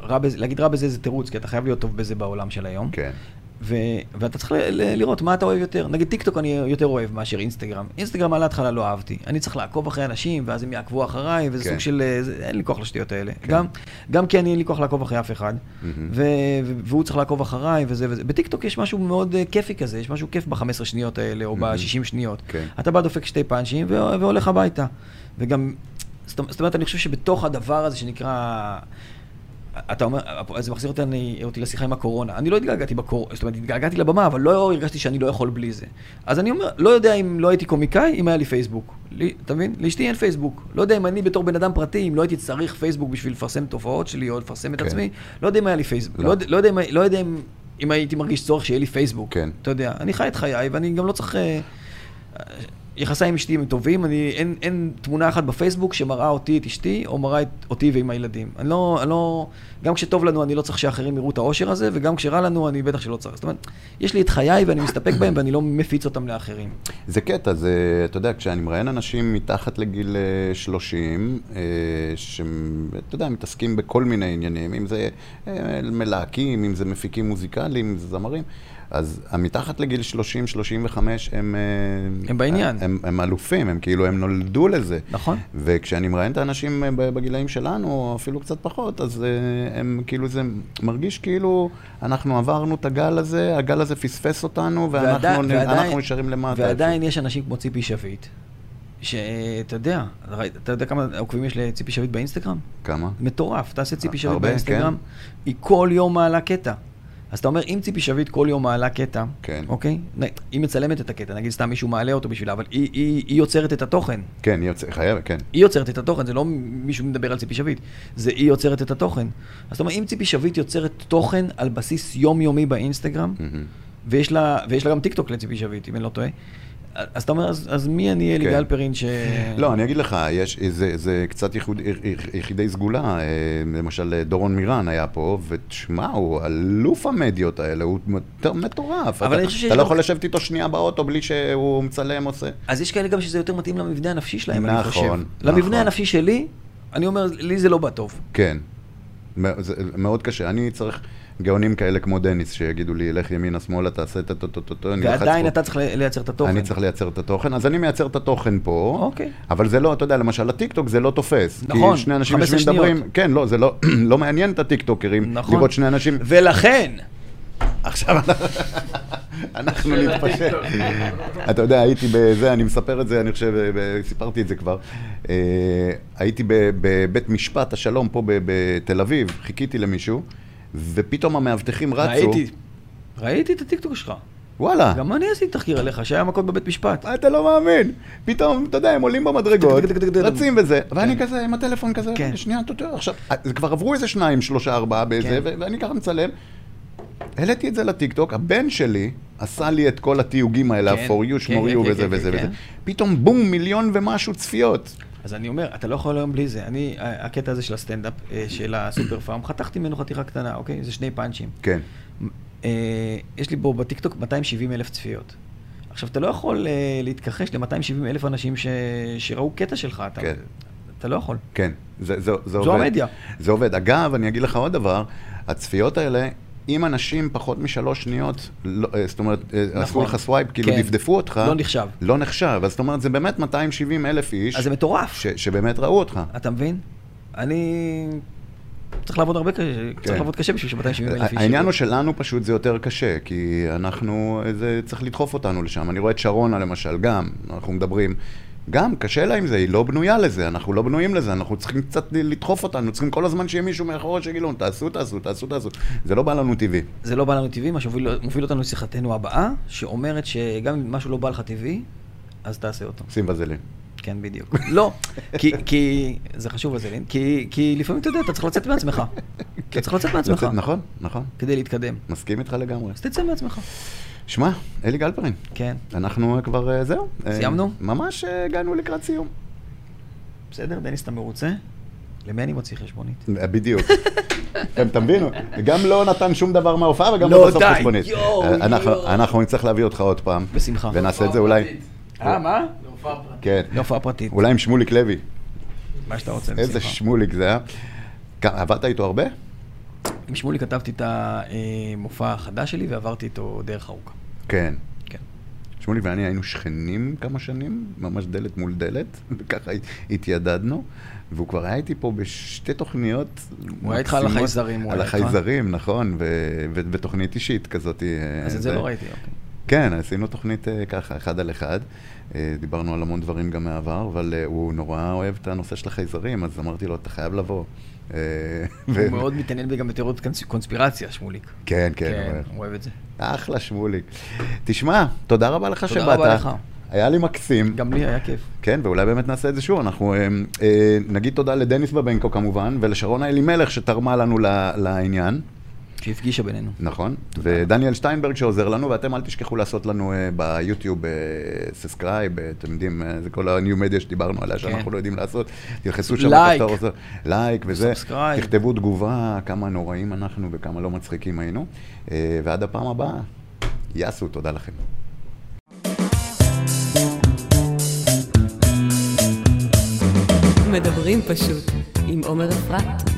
S3: רע בזה, להגיד רע בזה זה תירוץ, כי אתה חייב להיות טוב בזה בעולם של היום.
S2: כן.
S3: ו, ואתה צריך ל, ל, לראות מה אתה אוהב יותר. נגיד טיקטוק אני יותר אוהב מאשר אינסטגרם. אינסטגרם על ההתחלה לא אהבתי. אני צריך לעקוב אחרי אנשים, ואז הם יעקבו אחריי, וזה
S2: כן.
S3: סוג של... אה, זה, אין לי כוח לשטויות האלה. גם, גם כי אני אין לי כוח לעקוב אחרי אף אחד, ו, ו, והוא צריך לעקוב אחריי, וזה וזה. בטיקטוק יש משהו מאוד אה, כיפי כזה, יש משהו כיף ב-15 שניות האלה, או ב-60 שניות.
S2: כן.
S3: אתה בא, דופק שתי פאנצ'ים, ו- והולך הביתה. וגם, זאת זאת אומרת, אני חושב שבתוך הדבר הזה שנקרא... אתה אומר, אז זה מחזיר אותי, אותי לשיחה עם הקורונה. אני לא התגעגעתי בקורונה, זאת אומרת, התגעגעתי לבמה, אבל לא הרגשתי שאני לא יכול בלי זה. אז אני אומר, לא יודע אם לא הייתי קומיקאי, אם היה לי פייסבוק. לי, אתה מבין? לאשתי אין פייסבוק. לא יודע אם אני בתור בן אדם פרטי, אם לא הייתי צריך פייסבוק בשביל לפרסם תופעות שלי או לפרסם את
S2: כן.
S3: עצמי, לא יודע אם היה לי פייסבוק.
S2: לא.
S3: לא, יודע- לא יודע, אם, לא יודע אם, אם הייתי מרגיש צורך שיהיה לי פייסבוק.
S2: כן.
S3: אתה יודע, אני חי את חיי, ואני גם לא צריך... אה, יחסיי עם אשתי הם טובים, אני, אין, אין תמונה אחת בפייסבוק שמראה אותי את אשתי, או מראה את, אותי ועם הילדים. אני לא, אני לא, גם כשטוב לנו אני לא צריך שאחרים יראו את האושר הזה, וגם כשרע לנו אני בטח שלא צריך. זאת אומרת, יש לי את חיי ואני מסתפק בהם ואני לא מפיץ אותם לאחרים.
S2: זה קטע, זה, אתה יודע, כשאני מראיין אנשים מתחת לגיל אה, 30, אה, שהם, אתה יודע, מתעסקים בכל מיני עניינים, אם זה אה, מלהקים, אם זה מפיקים מוזיקליים, אם זה זמרים, אז המתחת לגיל 30, 35, הם... אה,
S3: הם בעניין.
S2: הם, הם אלופים, הם כאילו, הם נולדו לזה.
S3: נכון.
S2: וכשאני מראיין את האנשים אה, ב- בגילאים שלנו, או אפילו קצת פחות, אז אה, הם כאילו, זה מרגיש כאילו אנחנו עברנו את הגל הזה, הגל הזה פספס אותנו, ואנחנו
S3: ועדי-
S2: נ-
S3: ועדיין-
S2: אנחנו נשארים למטה.
S3: ועדיין יש אנשים כמו ציפי שביט, שאתה יודע, ראית- אתה יודע כמה עוקבים יש לציפי שביט באינסטגרם?
S2: כמה?
S3: מטורף, תעשה ציפי שביט
S2: הרבה,
S3: באינסטגרם,
S2: כן.
S3: היא כל יום מעלה קטע. אז אתה אומר, אם ציפי שביט כל יום מעלה קטע,
S2: כן.
S3: אוקיי? נ- היא מצלמת את הקטע, נגיד סתם מישהו מעלה אותו בשבילה, אבל היא, היא, היא יוצרת את התוכן.
S2: כן, היא יוצא, חייבת, כן.
S3: היא יוצרת את התוכן, זה לא מישהו מדבר על ציפי שביט, זה היא יוצרת את התוכן. אז אתה אומר, אם ציפי שביט יוצרת תוכן על בסיס יומיומי באינסטגרם,
S2: מהמם.
S3: ויש לה, ויש לה גם טיק טוק לציפי שביט, אם אני לא טועה, אז אתה אומר, אז, אז מי אני אלי
S2: כן.
S3: גלפרין ש...
S2: לא, אני אגיד לך, יש, זה, זה קצת ייחוד, יחידי סגולה, אה, למשל אה, דורון מירן היה פה, ותשמע, הוא אלוף המדיות האלה, הוא מט- מטורף.
S3: אבל
S2: אתה,
S3: אני חושב שיש
S2: אתה לא
S3: גם-
S2: יכול לשבת איתו שנייה באוטו בלי שהוא מצלם עושה.
S3: אז יש כאלה גם שזה יותר מתאים למבנה הנפשי שלהם, אני
S2: נכון,
S3: חושב.
S2: נכון.
S3: למבנה הנפשי שלי, אני אומר, לי זה לא בא טוב.
S2: כן. מא- זה מאוד קשה. אני צריך גאונים כאלה כמו דניס, שיגידו לי, לך ימינה, שמאלה, תעשה את הטוטוטוטו. אני אלחץ
S3: ועדיין
S2: פה."
S3: אתה צריך לי- לייצר את התוכן.
S2: אני צריך לייצר את התוכן, אז אני מייצר את התוכן פה.
S3: אוקיי.
S2: אבל זה לא, אתה יודע, למשל הטיקטוק זה לא תופס.
S3: נכון,
S2: כי שני אנשים
S3: 15
S2: יושבים מדברים,
S3: שניות.
S2: כן, לא, זה לא, [CLEARS THROAT] לא מעניין את הטיקטוקרים,
S3: נכון.
S2: לראות שני
S3: [LAUGHS]
S2: אנשים.
S3: ולכן,
S2: עכשיו אנחנו
S4: של
S2: נתפשר.
S4: הטיקטוק.
S2: אתה יודע, הייתי בזה, אני מספר את זה, אני חושב, ב- סיפרתי את זה כבר. אה, הייתי ב- בבית משפט השלום פה ב- בתל אביב, חיכיתי למישהו, ופתאום המאבטחים רצו.
S3: ראיתי, ראיתי את הטיקטוק שלך.
S2: וואלה.
S3: גם אני עשיתי תחקיר עליך, שהיה מכות בבית משפט.
S2: אתה לא מאמין. פתאום, אתה יודע, הם עולים במדרגות,
S3: טק, טק, טק, טק, טק.
S2: רצים וזה, ואני כזה עם הטלפון כזה,
S3: כן.
S2: שנייה, אתה יודע, עכשיו, אה, זה כבר עברו איזה שניים, שלושה, ארבעה באיזה,
S3: כן.
S2: ו- ואני ככה מצלם. העליתי את זה לטיקטוק, הבן שלי עשה לי את כל התיוגים האלה,
S3: כן,
S2: ה-for you,
S3: כן,
S2: שמור
S3: כן,
S2: you
S3: כן,
S2: וזה
S3: כן,
S2: וזה
S3: כן,
S2: וזה.
S3: כן.
S2: פתאום בום, מיליון ומשהו צפיות.
S3: אז אני אומר, אתה לא יכול היום בלי זה. אני, ה- הקטע הזה של הסטנדאפ, אה, של הסופר פארם, חתכתי ממנו חתיכה קטנה, אוקיי? זה שני פאנצ'ים.
S2: כן.
S3: אה, יש לי בו בטיקטוק 270 אלף צפיות. עכשיו, אתה לא יכול אה, להתכחש ל-270 אלף אנשים ש... שראו קטע שלך, אתה,
S2: כן.
S3: אתה לא יכול.
S2: כן, זה, זה, זה
S3: זו
S2: עובד.
S3: המדיה.
S2: זה עובד. אגב, אני אגיד לך עוד דבר, הצפיות האלה, אם אנשים פחות משלוש שניות, לא, אה, זאת אומרת, נכון. עשו
S3: נכון.
S2: לך סווייפ, כאילו
S3: כן.
S2: דפדפו אותך,
S3: לא נחשב.
S2: לא נחשב. אז זאת אומרת, זה באמת 270 אלף איש,
S3: אז זה מטורף,
S2: ש, שבאמת ראו אותך.
S3: אתה מבין? אני צריך לעבוד הרבה קשה, צריך לעבוד קשה בשביל ש-270 אלף איש.
S2: כן. העניין הוא
S3: יראו.
S2: שלנו פשוט זה יותר קשה, כי אנחנו, זה צריך לדחוף אותנו לשם. אני רואה את שרונה למשל, גם, אנחנו מדברים, גם קשה לה עם זה, היא לא בנויה לזה, אנחנו לא בנויים לזה, אנחנו צריכים קצת לדחוף אותנו, צריכים כל הזמן שיהיה מישהו מאחורה שיגיד לנו, תעשו, תעשו, תעשו, תעשו. זה לא בא לנו טבעי.
S3: זה לא בא לנו טבעי, מה שמוביל אותנו לשיחתנו הבאה, שאומרת שגם אם משהו לא בא לך טבעי, אז תעשה אותו.
S2: שים בזלין.
S3: כן,
S2: [LAUGHS]
S3: בדיוק. לא, כי, כי, זה חשוב לזלין, כי, כי לפעמים אתה יודע, אתה צריך לצאת מעצמך. אתה צריך לצאת מעצמך.
S2: לצאת- נכון, נכון.
S3: כדי להתקדם.
S2: מסכים איתך לגמרי.
S3: אז תצא מעצמך.
S2: שמע, אלי גלפרין,
S3: כן,
S2: אנחנו אה, כבר, אה, זהו. אה,
S3: סיימנו?
S2: ממש אה, הגענו לקראת סיום.
S3: בסדר, דניס, אתה מרוצה? למי אני מוציא חשבונית?
S2: אה, בדיוק. [LAUGHS] אתם תבינו, גם לא נתן שום דבר מההופעה וגם
S3: לא,
S2: לא בסוף
S3: די,
S2: חשבונית.
S3: יואו,
S2: אנחנו-
S3: יואו.
S2: אנחנו נצטרך להביא אותך עוד פעם.
S3: בשמחה.
S2: ונעשה את זה
S4: הופעה
S2: אולי,
S4: פרטית.
S3: אה, מה?
S4: להופעה פרטית.
S2: כן.
S3: להופעה לא, פרטית.
S2: אולי עם שמוליק לוי.
S3: מה שאתה רוצה, בשמחה.
S2: איזה שמוליק זה היה. כ- עבדת איתו הרבה?
S3: עם שמולי כתבתי את המופע החדש שלי ועברתי איתו דרך ארוכה.
S2: כן.
S3: כן.
S2: שמוליק ואני היינו שכנים כמה שנים, ממש דלת מול דלת, [LAUGHS] וככה הת- התיידדנו, והוא כבר היה איתי פה בשתי תוכניות.
S3: היה איתך על
S2: מקסימות.
S3: החייזרים, הוא
S2: על
S3: היה איתך.
S2: החייזרים, נכון, ו- ו- ותוכנית אישית כזאת. אה,
S3: אז את זה
S2: זה-
S3: לא ראיתי, אוקיי.
S2: כן, עשינו תוכנית אה, ככה, אחד על אחד. אה, דיברנו על המון דברים גם מהעבר, אבל אה, הוא נורא אוהב את הנושא של החייזרים, אז אמרתי לו, אתה חייב לבוא. אה, ו-
S3: הוא מאוד מתעניין בי גם בתיאוריות קונס- קונספירציה, שמוליק.
S2: כן, כן,
S3: כן,
S2: אבל-
S3: הוא אוהב את זה.
S2: אחלה שמוליק. תשמע, תודה רבה לך שבאת.
S3: תודה רבה לך.
S2: היה לי מקסים.
S3: גם לי היה כיף.
S2: כן, ואולי באמת נעשה את זה שוב. אנחנו אה, אה, נגיד תודה לדניס בבנקו כמובן, ולשרונה אלימלך שתרמה לנו ל- לעניין.
S3: שהפגישה בינינו.
S2: נכון, ודניאל שטיינברג שעוזר לנו, ואתם אל תשכחו לעשות לנו אה, ביוטיוב ססקרייב, אתם יודעים, אה, זה כל הניו מדיה שדיברנו עליה, שאנחנו לא יודעים לעשות, תלחסו שם,
S3: לייק.
S2: שאתה רוצה- לייק וזה,
S3: סאבסקרייב.
S2: תכתבו תגובה, כמה נוראים אנחנו וכמה לא מצחיקים היינו, אה, ועד הפעם הבאה, יאסו, תודה לכם.
S1: מדברים פשוט עם עומר אפרת.